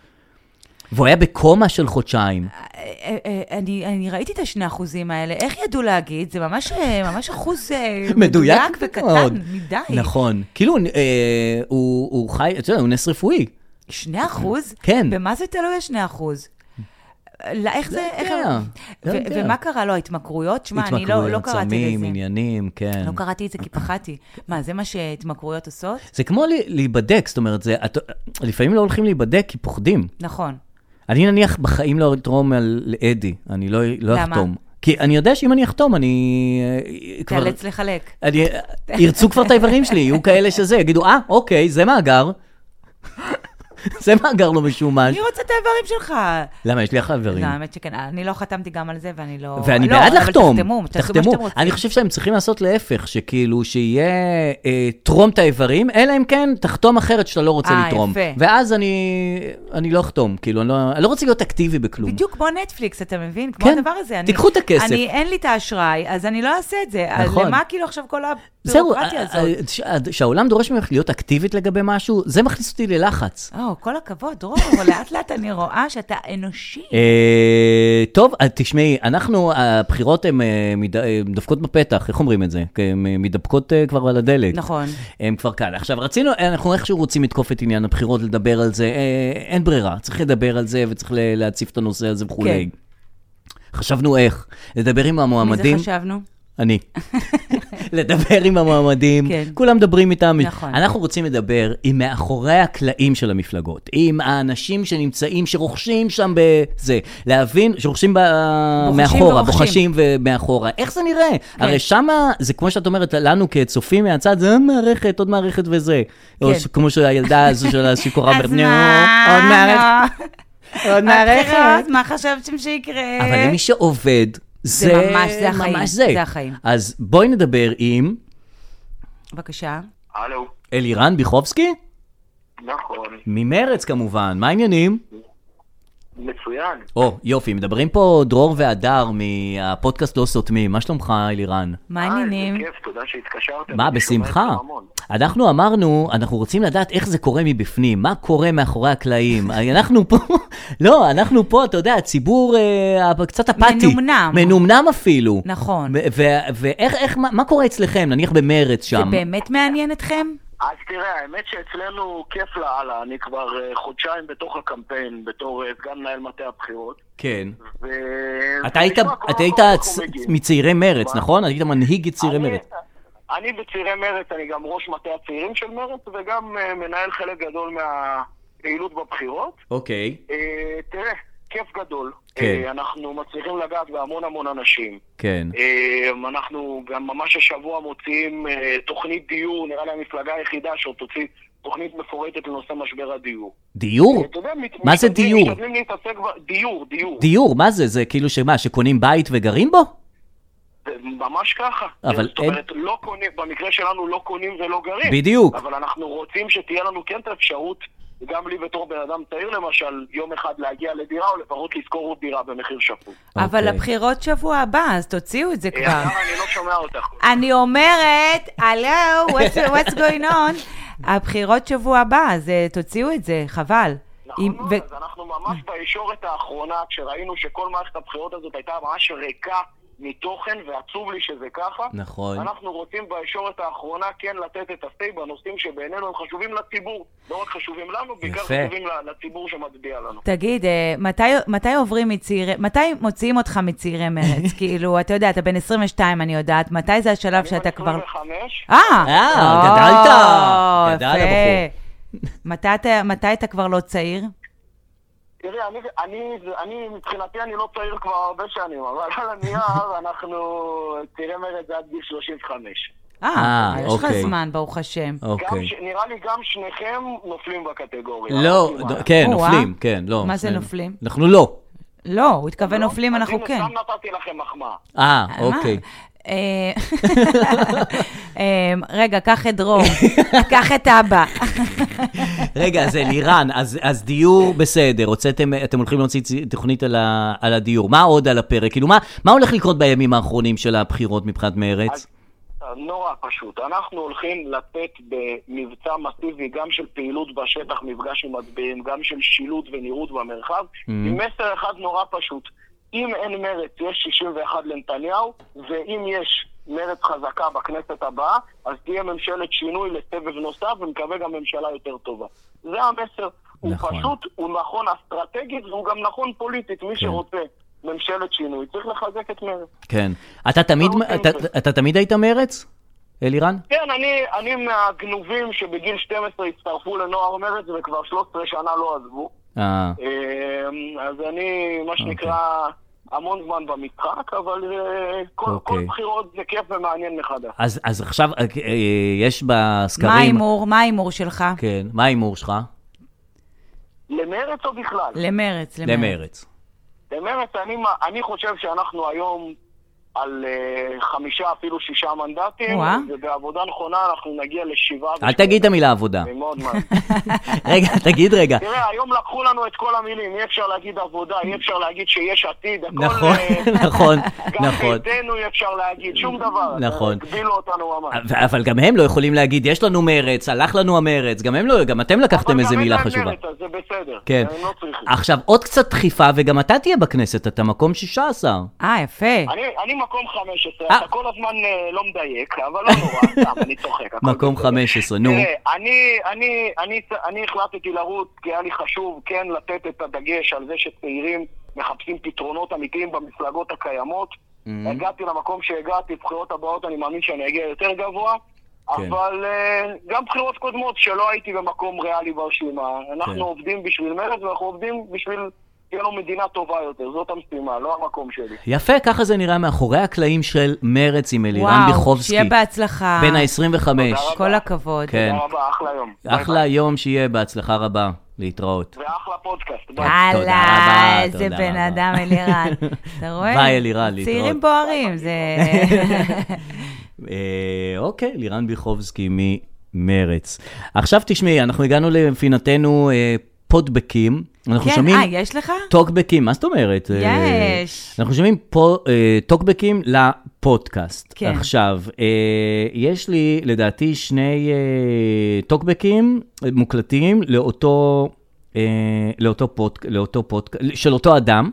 והוא היה בקומה של חודשיים. אה, אה, אה, אני אני ראיתי את השני אחוזים האלה, איך ידעו להגיד? זה ממש אה, ממש אחוז [LAUGHS] אה, מדויק מאוד. וקטן מדי. נכון. כאילו, אה, הוא הוא חי, אתה יודע, הוא נס רפואי. שני אחוז? כן. במה זה תלוי השני אחוז? לא, איך זה, איך... יודע, ו- לא יודע. ומה קרה לו? התמכרויות? שמע, אני לא, לא התמכרויות, קראתי סמים, לזה. עניינים, כן. לא קראתי את זה כי פחדתי. מה, זה מה שהתמכרויות עושות? זה כמו ל- להיבדק, זאת אומרת, זה, את, לפעמים לא הולכים להיבדק כי פוחדים. נכון. אני נניח בחיים לא אתרום על לאדי, אני לא, לא למה? אחתום. כי אני יודע שאם אני אחתום, אני אה, כבר... תיאלץ לחלק. אני, ירצו כבר את האיברים שלי, יהיו כאלה שזה, יגידו, אה, אוקיי, זה מאגר. [LAUGHS] זה מאגר לא משומש. מי רוצה את האיברים שלך? למה, יש לי אחלה איברים. לא, האמת שכן, אני לא חתמתי גם על זה, ואני לא... ואני לא, בעד אבל לחתום, תחתמו, תעשו מה תחתמו. שאתם רוצים. אני חושב שהם צריכים לעשות להפך, שכאילו שיהיה אה, תרום את האיברים, אלא אם כן תחתום אחרת שאתה לא רוצה אה, לתרום. יפה. ואז אני אני לא אחתום, כאילו, אני לא- אני לא רוצה להיות אקטיבי בכלום. בדיוק כמו נטפליקס, אתה מבין? כמו כן. הדבר הזה. אני- תיקחו את הכסף. אני, אין לי את האשראי, אז אני לא אעשה את זה. אז נכון. למה כאילו עכשיו כל זהו, הבירוקרטיה אה, הזאת? אה, ש- אה, שהעולם דורש ממך להיות אקטיבית לגבי משהו, זה מכניס אותי ללחץ. או, כל הכבוד, דרור, אבל לאט לאט אני רואה שאתה אנושי. אה, טוב, אה, תשמעי, אנחנו, הבחירות הן אה, מד- אה, דופקות בפתח, איך אומרים את זה? הן אה, מידבקות אה, כבר על הדלת. נכון. הם כבר כאן. עכשיו, רצינו, אנחנו איכשהו רוצים לתקוף את עניין הבחירות, לדבר על זה, אה, אין ברירה, צריך לדבר על זה וצריך ל- להציף את הנושא הזה וכולי. חשבנו איך, לדבר עם מי זה המועמדים. חשבנו? אני. [LAUGHS] לדבר עם המועמדים, כן. כולם מדברים איתם. נכון. אנחנו רוצים לדבר עם מאחורי הקלעים של המפלגות, עם האנשים שנמצאים, שרוכשים שם בזה, להבין, שרוכשים ב... מאחורה, ורוכשים. כן. בוחשים ומאחורה. איך זה נראה? הרי שמה, זה כמו שאת אומרת, לנו כצופים מהצד, זה עוד מערכת, עוד מערכת וזה. או כן. ש- כמו שהילדה הזו של השיכורה אומרת, [LAUGHS] אז "נו, מה? עוד מערכת, עוד מערכת. הבחירות, מה חשבתם שיקרה? אבל למי שעובד, זה, ממש- אה? זה החיים, ממש זה. זה החיים. אז בואי נדבר עם בבקשה. הלו, אלירן ביחובסקי, נכון, ממרץ כמובן, מה העניינים? מצוין. או, יופי, מדברים פה דרור והדר מהפודקאסט לא סותמים, מה שלומך אלירן? מה אה, העניינים? איזה כיף, תודה שהתקשרתם. מה, אני שומע בשמחה. אתכם המון. אנחנו אמרנו, אנחנו רוצים לדעת איך זה קורה מבפנים, מה קורה מאחורי הקלעים. [LAUGHS] אנחנו פה, לא, אנחנו פה, אתה יודע, הציבור אה, קצת אפאתי. מנומנם. מנומנם אפילו. נכון. ו- ו- ואיך, איך, מה מה קורה אצלכם, נניח במרץ זה שם? באמת מעניין אתכם? אז תראה, האמת שאצלנו כיף לאללה, אני כבר אה, חודשיים בתוך הקמפיין, בתור אה, סגן מנהל מטה הבחירות. כן. ו... אתה היית, ונשמע, לא כל אתה היית מקום צ- אנחנו מגיעים. מצעירי מרץ, נכון? היית מנהיג צעירי אני- מרץ. אני בצעירי מרץ, אני גם ראש מטה הצעירים של מרץ, וגם אה, מנהל חלק גדול מהפעילות בבחירות. אוקיי. אה, תראה, כיף גדול. כן. אה, אנחנו מצליחים לגעת בהמון המון אנשים. כן. אמ, אנחנו גם ממש השבוע מוציאים אה, תוכנית דיור, נראה לי המפלגה היחידה שעוד תוציא תוכנית מפורטת לנושא משבר הדיור. דיור? אתה יודע, מת- מה זה מתכוונים- דיור? מתכוונים להתעסק ב... דיור, דיור. דיור, מה זה? זה כאילו שמה, שקונים בית וגרים בו? זה ממש ככה. אבל זאת אומרת, לא קונים, במקרה שלנו לא קונים ולא גרים. בדיוק. אבל אנחנו רוצים שתהיה לנו כן את האפשרות, גם לי בתור בן אדם צעיר למשל, יום אחד להגיע לדירה, או לפחות לשכור עוד דירה במחיר שפוי. אבל אוקיי. הבחירות שבוע הבא, אז תוציאו את זה אה, כבר. עכשיו אני לא שומע אותך. אני אומרת, הלו, what's, what's going on? הבחירות שבוע הבא, אז אה, תוציאו את זה, חבל. נכון אם- מאוד, ו- אז אנחנו ממש אה. בישורת האחרונה, כשראינו שכל מערכת הבחירות הזאת הייתה ממש ריקה מתוכן, ועצוב לי שזה ככה. נכון. אנחנו רוצים בישורת האחרונה כן לתת את ה-say בנושאים שבעינינו הם חשובים לציבור. לא רק חשובים לנו, בעיקר יפה. חשובים ל- לציבור שמצביע לנו. תגיד, אה, מתי, מתי עוברים מצעירי, מתי מוציאים אותך מצעירי [LAUGHS] מרץ? כאילו, אתה יודע, אתה בן 22, אני יודעת, מתי זה השלב שאתה כבר... 25, אה, אה, או, גדלת. גדל יפה. הבחור. מתי אתה- מתי אתה כבר לא צעיר? תראי, אני, אני, אני, מבחינתי אני לא צעיר כבר הרבה שנים, אבל על [LAUGHS] הנייר אנחנו, תראה מרד זה עד גיל 35. אה, אה, יש לך אוקיי. זמן, ברוך השם. גם, אוקיי. ש- נראה לי גם שניכם נופלים בקטגוריה. לא, מה? ד- כן, או, נופלים, אה? כן, לא. מה זה כן. נופלים? אנחנו לא. לא, הוא התכוון לא? נופלים, אז אנחנו הנה, כן. סתם נתתי לכם מחמאה. אה, מה? אוקיי. אה, אה, רגע, קח את דרור, קח את אבא. רגע, אז אלירן, אז אז דיור בסדר, הוצאתם, אה, אתם הולכים להוציא צי- תוכנית על ה- על הדיור. מה עוד על הפרק? כאילו, מה מה הולך לקרות בימים האחרונים של הבחירות מבחינת מרץ? אז נורא פשוט. אנחנו הולכים לתת במבצע מסיבי גם של פעילות בשטח, מפגש עם מצביעים, גם של שילוט ונראות במרחב, Mm. עם מסר אחד נורא פשוט. אם אין מרץ, יש 61 לנתניהו, ואם יש מרץ חזקה בכנסת הבאה, אז תהיה ממשלת שינוי לסבב נוסף, ומקווה גם ממשלה יותר טובה. זה המסר. הוא נכון. פשוט, הוא נכון אסטרטגית, והוא גם נכון פוליטית. כן. מי שרוצה ממשלת שינוי, צריך לחזק את מרץ. כן. אתה תמיד- אוקיי. אתה- אתה תמיד היית אה, מרץ? אלירן? כן, אני, אני מהגנובים שבגיל 12 הצטרפו לנוער מרץ וכבר 13 שנה לא עזבו. אה, אמ, אז אני, אוקיי. מה שנקרא, המון זמן במשחק, אבל אה, כל, okay. כל אוקיי. בחירות זה כיף ומעניין מחדש. אז, אז עכשיו אה, אה, יש בסקרים... מה ההימור? מה ההימור שלך? כן, מה ההימור שלך? למרץ או בכלל? למרץ, למרץ. למרץ. למרץ, אני, מה- אני חושב שאנחנו היום על אה, חמישה, אפילו שישה מנדטים, וואה. ובעבודה נכונה אנחנו נגיע לשבעה. אל תגיד את המילה עבודה. אני [LAUGHS] מאוד מעניין. רגע, תגיד רגע. תראה, היום לקחו לנו את כל המילים, אי אפשר להגיד עבודה, אי אפשר להגיד שיש עתיד, הכל... נכון, אה, נכון, גם נכון. ביתנו אי אפשר להגיד, שום דבר. נכון. הגבילו אותנו ממש. אבל- אבל גם הם לא יכולים להגיד, יש לנו מרץ, הלך לנו המרץ, גם הם לא, גם אתם לקחתם אבל איזה גם אין מילה להם חשובה. מרץ, אז זה בסדר. כן. הם לא צריכים. עכשיו, עוד קצת דחיפה, וגם אתה תהיה בכנסת, אתה מקום 16. אה, יפה. אני- אני מקום 15, אה. אתה כל הזמן אה, לא מדייק, אבל לא נורא, [LAUGHS] סתם, אני צוחק. הכל מקום בסדר. 15, נו. תראה, אני, אני, אני, אני החלטתי לרוץ כי היה לי חשוב כן לתת את הדגש על זה שצעירים מחפשים פתרונות אמיתיים במפלגות הקיימות. Mhm. הגעתי למקום שהגעתי, בחירות הבאות אני מאמין שאני אגיע יותר גבוה, כן. אבל אה, גם בחירות קודמות שלא הייתי במקום ריאלי ברשימה. כן. אנחנו עובדים בשביל מרצ ואנחנו עובדים בשביל תהיה לו מדינה טובה יותר, זאת המשימה, לא המקום שלי. יפה, ככה זה נראה מאחורי הקלעים של מרץ עם אלירן וואו, ביחובסקי. שיהיה בהצלחה. בן ה-25. תודה כל הכבוד. כן. תודה רבה, אחלה יום. ביי אחלה יום שיהיה, בהצלחה רבה. להתראות. ביי. ואחלה פודקאסט. ביי. רבה, הלאה, איזה תודה בן רבה. אדם, אלירן. אתה רואה? [LAUGHS] ביי, אלירן, להתראות. צעירים בוערים, זה... [LAUGHS] אה, אוקיי, לירן ביחובסקי ממרץ. עכשיו תשמעי, אנחנו הגענו לפינתנו אה, פודבקים. [LAUGHS] אנחנו כן, שומעים אה, יש לך? טוקבקים, מה זאת אומרת? אה, יש. אנחנו שומעים פה אה, טוקבקים לפודקאסט. כן. עכשיו, אה, יש לי לדעתי שני אה, טוקבקים מוקלטים לאותו, אה, לאותו פודקאסט, לאותו פודק, של אותו אדם.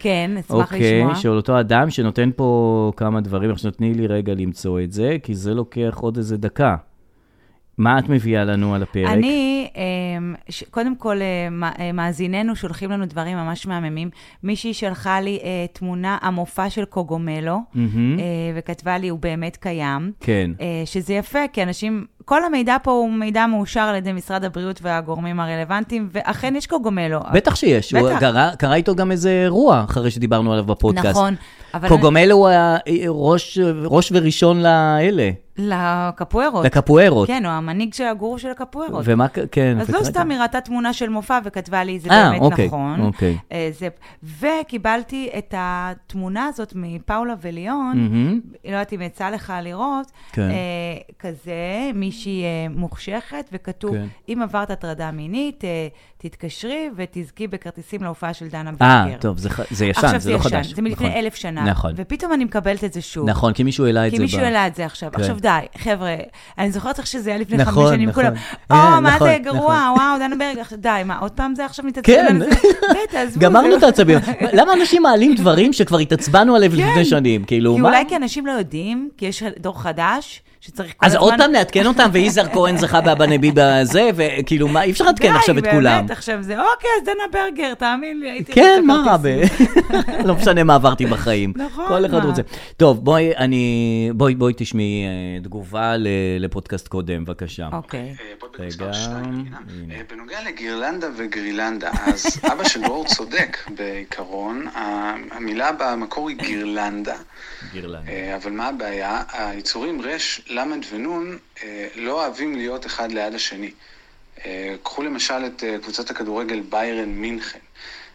כן, אשמח לשמוע. אוקיי, של אותו אדם שנותן פה כמה דברים. עכשיו תני לי רגע למצוא את זה, כי זה לוקח עוד איזה דקה. מה את מביאה לנו על הפרק? אני, אמ, ש- קודם כל, אה, מא- אה, מאזיננו שולחים לנו דברים ממש מהממים. מישהי שלחה לי אה, תמונה, המופע של קוגומלו, מהמם. אה, וכתבה לי, הוא באמת קיים. כן. אה, שזה יפה, כי אנשים, כל המידע פה הוא מידע מאושר על ידי משרד הבריאות והגורמים הרלוונטיים, ואכן יש קוגומלו. בטח שיש, הוא בטח. קרה- קרה איתו גם איזה אירוע אחרי שדיברנו עליו בפודקאסט. נכון, אבל... קוגומלו הוא הראש ראש וראשון לאלה, לקפוארות. לקפוארות. כן, הוא המנהיג של הגורו של הקפוארות. ומה, ק- כן. אז לא וקראת. סתם היא ראתה תמונה של מופע וכתבה לי, זה אה, באמת אוקיי, נכון. אוקיי. אה, זה... וקיבלתי את התמונה הזאת מפאולה וליון, מהמם. לא יודעת אם יצא לך לראות, כן. אה, כזה, מישהי אה, מוחשכת, וכתוב, כן. אם עברת הטרדה מינית, אה, תתקשרי ותזכי בכרטיסים להופעה של דנה ברגר. אה, טוב, זה ח- זה ישן, עכשיו זה לא ישן, חדש. זה מלפני נכון. אלף שנה. נכון. ופתאום אני מקבלת את זה שוב. נכון, כי מישהו העלה את זה. כי מישהו ב- העלה את זה עכשיו. כן. עכשיו די, חבר'ה, אני זוכרת איך שזה היה לפני חמש נכון, שנים, נכון. כולם, או, אה, מה נכון, זה גרוע, נכון. וואו, דנה ברג, עכשיו די, מה, עוד פעם זה עכשיו מתעצבן כן, על [LAUGHS] זה? בטח, עזבו. גמרנו זה- לא- את [LAUGHS] העצבים. למה אנשים מעלים דברים שכבר התעצבנו עליהם לפני שנים? כאילו, כן. כי מה? אולי כי אנשים לא יודעים, כי יש דור חדש, שצריך כל אז הזמן... עוד פעם נעדכן אותם, ויזהר כהן זכה באבא נביא בזה, וכאילו, מה, אי אפשר לעדכן עכשיו את די, כולם. באמת, עכשיו זה, אוקיי, אז דנה ברגר, תאמין לי, הייתי... כן, רוצה מה רע ב... [LAUGHS] כרטיס. לא משנה מה עברתי בחיים. נכון, כל אחד מה? רוצה. טוב, בואי, אני... בואי, בואי תשמעי אה, תגובה ל- לפודקאסט קודם, בבקשה. אוקיי. אה, בוא רגע, בקצרה שניים, הנה. הנה. אה, בנוגע לגרלנדה וגרילנדה, [LAUGHS] אז אבא של דרור צודק בעיקרון, ה- המילה במקור היא גרלנדה, גירלנד. אה, אבל מה הבעיה? היצורים ר', ל' ונ' אה, לא אוהבים להיות אחד ליד השני. אה, קחו למשל את אה, קבוצת הכדורגל ביירן מינכן.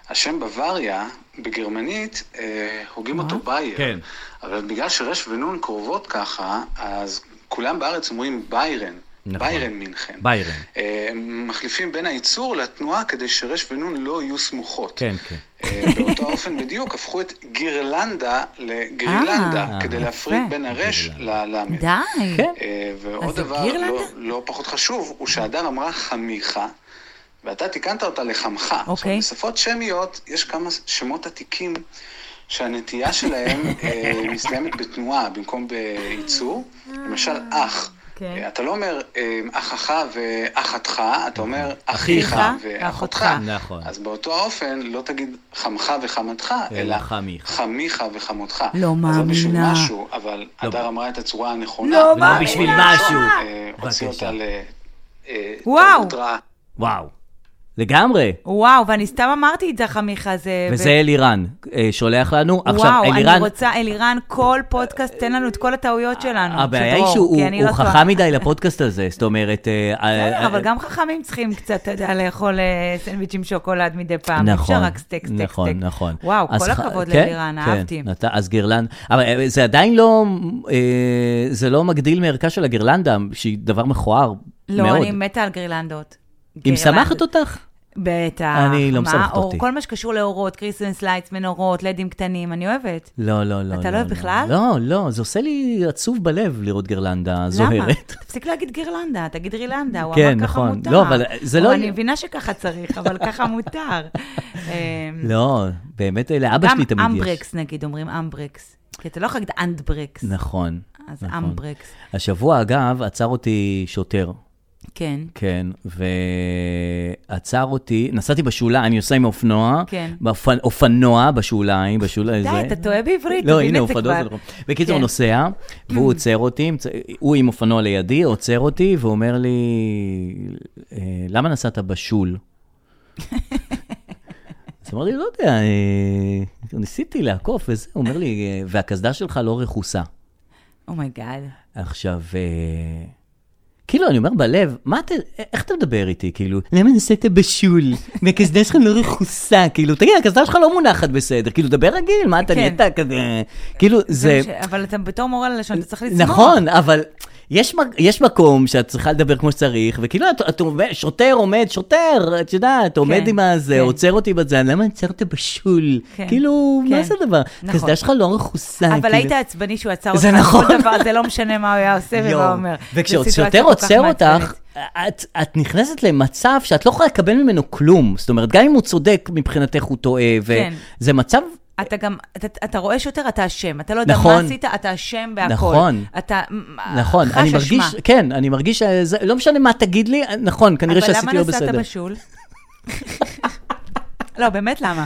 השם בוואריה, בגרמנית, אה, הוגים אותו בייר. כן. אבל בגלל שר' ונ' קרובות ככה, אז כולם בארץ אומרים ביירן. נכון. ביירן מינכן. ביירן. אה, מחליפים בין הייצור לתנועה כדי שר' ונ' לא יהיו סמוכות. כן, כן. אה, באותו אופן בדיוק הפכו את גירלנדה לגרילנדה, אה, כדי להפריד יפה. בין הרש ללמד. די. כן. אה, ועוד אז זה דבר גירלנדה? לא- לא פחות חשוב, הוא שהדר אמרה חמיכה, ואתה תיקנת אותה לחמך. אוקיי. עכשיו, בשפות שמיות יש כמה שמות עתיקים [LAUGHS] שהנטייה שלהם אה, מסתיימת בתנועה במקום בייצור. למשל, אח. כן. אה, אתה לא אומר אה, אחך ואחתך, אתה אומר אחיך אחיך ואחותך. נכון. אז באותו האופן לא תגיד חמך וחמתך, אלא אלא חמיך. חמיך וחמותך. לא אז זה בשביל מאמינה. משהו, אבל הדר אמרה את הצורה הנכונה. לא ולא מאמינה. לא. בשביל אה, משהו. אה, הוציא בבקשה. אותה ל... אה, וואו. תרבות רעה. וואו. לגמרי. וואו, ואני סתם אמרתי את זה, חמיכה, זה... וזה אלירן אה, שולח לנו. עכשיו, וואו, אלירן, אני רוצה, אלירן, כל פודקאסט, תן לנו את כל הטעויות שלנו. הבעיה היא שדרור, שהוא כי אני הוא לא טועה. חכם מדי לפודקאסט הזה, זאת אומרת... אה, בסדר, אה, אבל אה, גם חכמים צריכים קצת, אתה יודע, לאכול אה, סנדוויץ' עם שוקולד מדי פעם. אי נכון, אפשר רק סטייק, סטייק, נכון, סטייק. נכון. וואו, אז כל ח- הכבוד כן, ללירן, כן, אהבתי. נת- אז גירלנד, אבל אה, זה עדיין לא, אה, זה לא מגדיל מערכה של הגירלנדה, שהיא דבר מכוער לא, מאוד. אני מתה על גרילנדות. היא גרילנדות. משמחת אותך? בטח. אני לא מה, משמחת אור, אותי. כל מה שקשור לאורות, קריסטנס לייטס, מנורות, לדים קטנים, אני אוהבת. לא, לא, לא. אתה לא אוהב בכלל? לא, לא, זה עושה לי עצוב בלב לראות גרלנדה למה? [LAUGHS] זוהרת. תפסיק להגיד גרלנדה, תגיד רילנדה, הוא כן, אמר ככה נכון. מותר. לא, אבל זה או, לא- אני מבינה שככה צריך, אבל ככה [LAUGHS] מותר. אמ, לא, באמת, לאבא שלי תמיד יש. גם אמ- אמברקס, נגיד, אומרים אמברקס. כי אתה לא יכול להגיד אנדברקס. נכון. אז נכון. אמברקס. השבוע, אגב, עצר אותי שוטר. כן. כן, ועצר אותי, נסעתי בשוליים, אני עושה עם האופנוע, כן. באופנ- אופנוע בשוליים, בשוליים די, זה. אתה טועה בעברית, לא, תבין הנה, את זה אופנוע כבר. זה נכון. בקיצור, כן. נוסע, והוא עוצר אותי, עם צ- הוא עם אופנוע לידי, עוצר אותי, ואומר לי, "אה, למה נסעת בשול? אז אמרתי, לא יודע, אה, ניסיתי לעקוף וזה, הוא אומר לי, "אה, והקסדה שלך לא רכוסה. אומייגאד. עכשיו, אה, כאילו, אני אומר בלב, מה אתה, איך אתה מדבר איתי, כאילו, למה נסעת [LAUGHS] בשול? והקסדה שלך לא רכוסה, כאילו, תגיד, הקסדה שלך לא מונחת בסדר, כאילו, דבר רגיל, מה אתה כן. נהיית כזה, כאילו, זה... אבל אתה בתור מורה ללשון, אתה צריך לצמוח. נכון, אבל יש, מק- יש מקום שאת צריכה לדבר כמו שצריך, וכאילו, את, את עומד, שוטר עומד, שוטר, את יודעת, עומד עם הזה, כן. עוצר אותי בזה, למה עצרת בשול? כן. כאילו, מה כן. זה הדבר? נכון. הקסדה שלך לא רכוסה, אבל כאילו. היית עצבני שהוא עצר אותך. זה נכון. כל דבר, זה לא משנה מה הוא היה עושה יום. ומה הוא אומר. זו וכששוטר סיטואציה כל כך עוצר אותך, מעצבנת. את, את נכנסת למצב שאת לא יכולה לקבל ממנו כלום. זאת אומרת, גם אם הוא צודק, מבחינתך הוא טועה, כן. וזה מצב... אתה גם, אתה, אתה רואה שוטר, אתה אשם. אתה לא יודע נכון. מה עשית, אתה אשם בהכל. נכון. אתה מ- נכון, חש אני אשמה. מרגיש, כן, אני מרגיש, שזה- לא משנה מה תגיד לי, נכון, כנראה שעשיתי לא אבל בסדר. למה נסעת בשול? [LAUGHS] לא, באמת למה?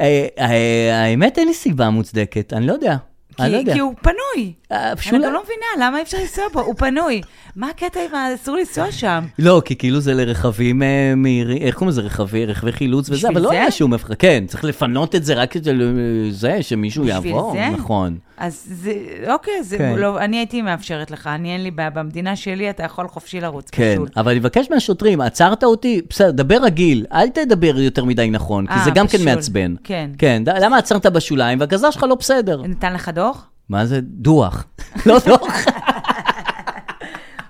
אה, אה, האמת, אין לי סיבה מוצדקת, אני לא יודע. אני לא כי, יודע. כי הוא פנוי. אה, אני שולה- גם לא מבינה, למה אי אפשר לנסוע בו? הוא פנוי. מה הקטע עם ה- אסור לנסוע שם? לא, כי כאילו זה לרכבים אה, מהירים, איך קוראים לזה? רכבי- רכבי חילוץ וזה, בשביל אבל לא זה? היה שום הבחנה. כן, צריך לפנות את זה רק כדי ל- זה, שמישהו בשביל יעבור. זה? נכון. אז זה, אוקיי, זה, כן. לא, אני הייתי מאפשרת לך, אני אין לי בעיה, במדינה שלי אתה יכול חופשי לרוץ כן, בשול. אבל אני מבקש מהשוטרים, עצרת אותי, בסדר, דבר רגיל, אל תדבר יותר מדי נכון, כי אה, זה גם כן בשול. מעצבן. כן. כן, ד- למה עצרת בשוליים והגזר שלך לא בסדר? נתן לך דוח? מה זה דוח? [LAUGHS] לא דוח,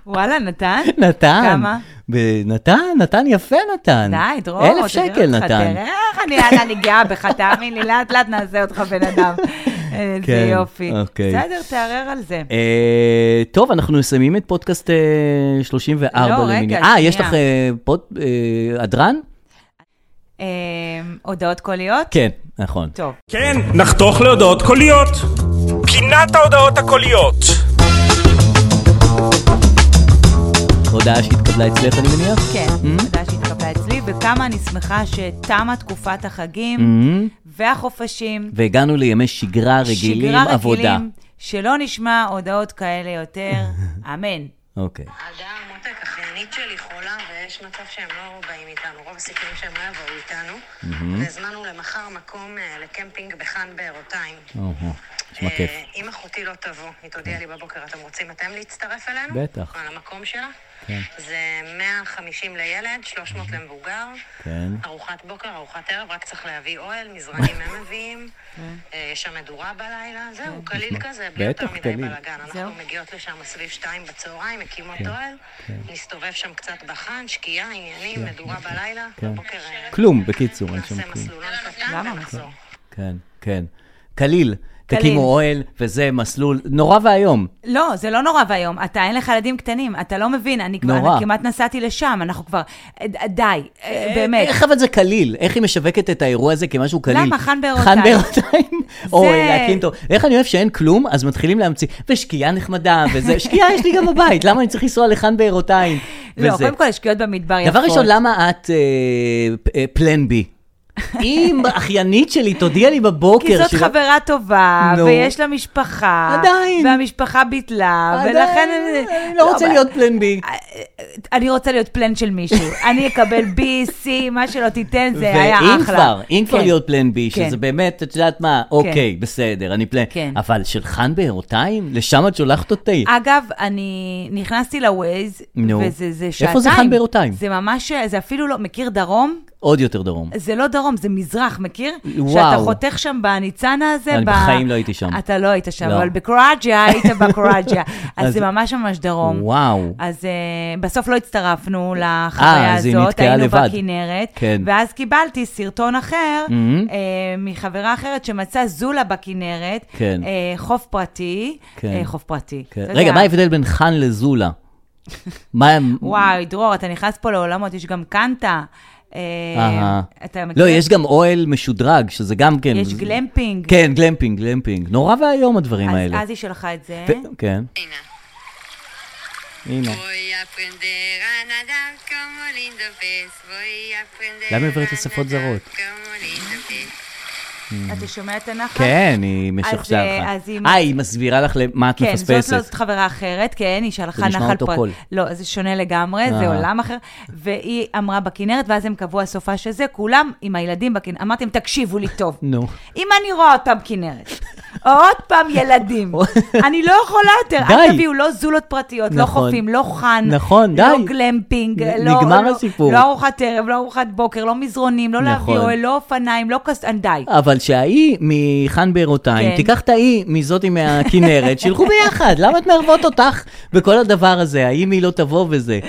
וואלה, נתן? [LAUGHS] נתן. כמה? ב- נתן, נתן יפה נתן. די, דרור, אלף תראה שקל אותך, נתן. תראה איך אני, יאללה, אני גאה בך, תאמין לי, לאט לאט נעשה אותך בן [LAUGHS] אדם. איזה כן, יופי. אוקיי. בסדר, תערער על זה. אה, טוב, אנחנו מסיימים את פודקאסט אה, 34 לא, רגע, למיני- אה, יש שנייה. לך אה, פוד... אה, הדרן? אה, הודעות קוליות? כן, נכון. טוב. כן, נחתוך להודעות קוליות. פינת ההודעות הקוליות. הודעה שהתקבלה אצלך, אני מניח? כן, Mm? תודה שהתקבלה אצלי, וכמה אני שמחה שתמה תקופת החגים מהמם. והחופשים. Mm-hmm. והגענו לימי שגרה רגילים, שגרה עבודה. רגילים, שלא נשמע הודעות כאלה [LAUGHS] יותר, אמן. אוקיי. אדם, מותק, אחיינית שלי חולה, ויש מצב שהם לא באים איתנו. רוב הסיכויים שהם לא יבואו איתנו. והזמנו למחר מקום אה, לקמפינג בחאן בארותיים. אה, אוהו, נשמע כיף. אה, אם אחותי לא תבוא, היא תודיע לי בבוקר, אתם רוצים אתם להצטרף אלינו? בטח. על המקום שלה? כן. זה 150 לילד, 300 למבוגר. כן. ארוחת בוקר, ארוחת ערב, רק צריך להביא אוהל, מזרנים הם מביאים. כן. אה, יש שם מדורה בלילה, זהו, קליל כזה, בלי יותר בטח, מדי קליל. כן, בלאגן. זהו. אנחנו מגיעות לשם סביב שתיים בצהריים, מקימות אוהל, נסתובב שם קצת בחאן, שקיעה, עניינים, מדורה בלילה, בבוקר אה, כן. כלום, בקיצור, אין שם נעשה כלום. מסלולון קטן למה? ונחזור. כן, כן. קליל. קליל. תקימו אוהל, וזה מסלול נורא ואיום. לא, זה לא נורא ואיום. אתה, אין לך ילדים קטנים, אתה לא מבין. אני כבר, נורא. אני כמעט נסעתי לשם, אנחנו כבר... אה, די, אה, באמת. איך אבל זה קליל? איך היא משווקת את האירוע הזה כמשהו קליל? למה? חן בארותיים. חן בארותיים. זה- אוי, להקים טוב. איך אני אוהב שאין כלום, אז מתחילים להמציא, ושקיעה נחמדה, [LAUGHS] וזה, שקיעה יש לי גם בבית, למה אני צריך לנסוע לחן בארותיים? לא, וזה. קודם כל, יש שקיעות במדבר יפות. דבר ראשון, למה את אה, פלן בי? אם האחיינית שלי תודיע לי בבוקר... כי זאת שהיא לא- חברה טובה, נו. ויש לה משפחה. עדיין. והמשפחה ביטלה, ולכן... עדיין, אה, אני לא רוצה אבל- אה, להיות פלן בי. אני רוצה להיות פלן של [LAUGHS] מישהו. אני אקבל B, C, מה שלא תיתן, זה היה אחלה. ואם כבר, אם כבר כן. להיות פלן בי, כן. שזה באמת, את יודעת מה, אוקיי, בסדר, אני פלן, כן. אה- אבל שלחן בארותיים? לשם את שולחת אותי? אגב, אני נכנסתי לווייז, נו. וזה זה שעתיים. איפה זה חן בארותיים? זה ממש, זה אפילו לא, מכיר דרום? עוד יותר דרום. זה לא דרום, זה מזרח, מכיר? וואו. שאתה חותך שם בניצנה הזה. אני בחיים לא הייתי שם. אתה לא היית שם, לא. אבל [LAUGHS] בקרואג'יה היית בקרואג'יה. אז אז- זה ממש ממש דרום. וואו. אה, אז uh, בסוף לא הצטרפנו לחוויה אז היא הזאת, נתקעה היינו לבד. בכנרת, כן. ואז קיבלתי סרטון אחר Mhm. mm-hmm. uh, מחברה אחרת שמצאה זולה בכנרת, כן. uh, חוף פרטי, כן. uh, חוף פרטי. כן. אתה רגע, יודע. מה ההבדל בין חן [LAUGHS] לזולה? מה הם... וואי, דרור, אתה נכנס פה לעולמות, יש גם קנטה. אה, אהה. אתה מכיר? לא, יש גם אוהל משודרג, שזה גם כן... יש זה- גלמפינג. כן, גלמפינג, גלמפינג. נורא ואיום הדברים אז, האלה. אז היא שלחה את זה. ו- כן. הנה. אוי, aprender a nadar como lindo pez. Voy a aprender למה a עברת לשפות nadar זרות? como lindo pez. אתה שומע את הנחל? כן, היא משכתב אה, לך. אז היא- אה, היא מסבירה לך למה את כן, זאת לא, מפספסת. זאת חברה אחרת, כן, היא שלחה זה נחל נשמע אותו קול. אה. לא, זה שונה לגמרי, אהה. זה עולם אחר. והיא אמרה בכנרת, ואז הם קבעו הסופה של זה, כולם עם הילדים בכנרת. אמרתי להם, תקשיבו לי טוב. נו. אם אני רואה אותם כנרת, עוד פעם [LAUGHS] ילדים, אני לא יכולה יותר. די. אל תביאו לא זולות פרטיות, לא נכון. חופים, לא חאן, נכון, לא די. גלמפינג, נ- לא- נגמר לא- הסיפור. לא ארוחת ערב, לא ארוחת בוקר, לא מזרונים, לא נכון. להביא אוהל, לא אופניים, לא כס... די. אבל שההיא מכאן בארותיים, כן. תיקח את ההיא מזאתי מהכנרת, שילכו ביחד, למה את מערבות אותך בכל הדבר הזה, האם היא לא תבוא וזה.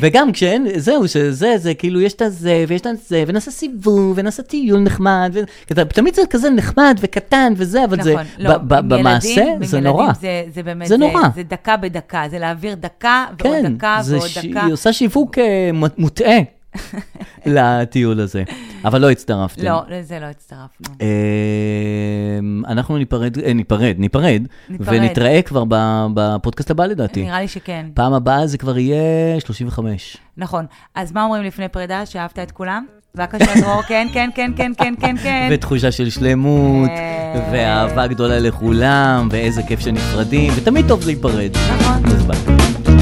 וגם כשאין, זהו, שזה, זה, כאילו, יש את הזה, ויש את הזה, ונעשה סיבוב, ונעשה טיול נחמד, ו... כי אתה- תמיד זה כזה נחמד וקטן וזה, אבל זה, נכון, לא, ב- ב- עם במעשה, ילדים- זה עם נורא. ילדים זה, זה באמת, זה נורא. זה דקה בדקה, זה להעביר דקה ועוד כן, דקה זה ועוד ש- דקה. היא עושה שיווק אה, מ- [LAUGHS] מוטעה לטיול הזה, אבל לא הצטרפתם. לא, לזה לא הצטרפנו. אמ, אנחנו ניפרד, אה, ניפרד, ניפרד, ניפרד. ונתראה כבר ב- בפודקאסט הבא לדעתי. נראה לי שכן. פעם הבאה זה כבר יהיה 35. נכון. אז מה אומרים לפני פרידה? שאהבת את כולם? בבקשה, דרור, כן, כן, כן, כן, כן, כן, כן. ותחושה של שלמות, כן. ואהבה גדולה לכולם, ואיזה כיף שנפרדים, ותמיד טוב להיפרד. נכון. אז ביי.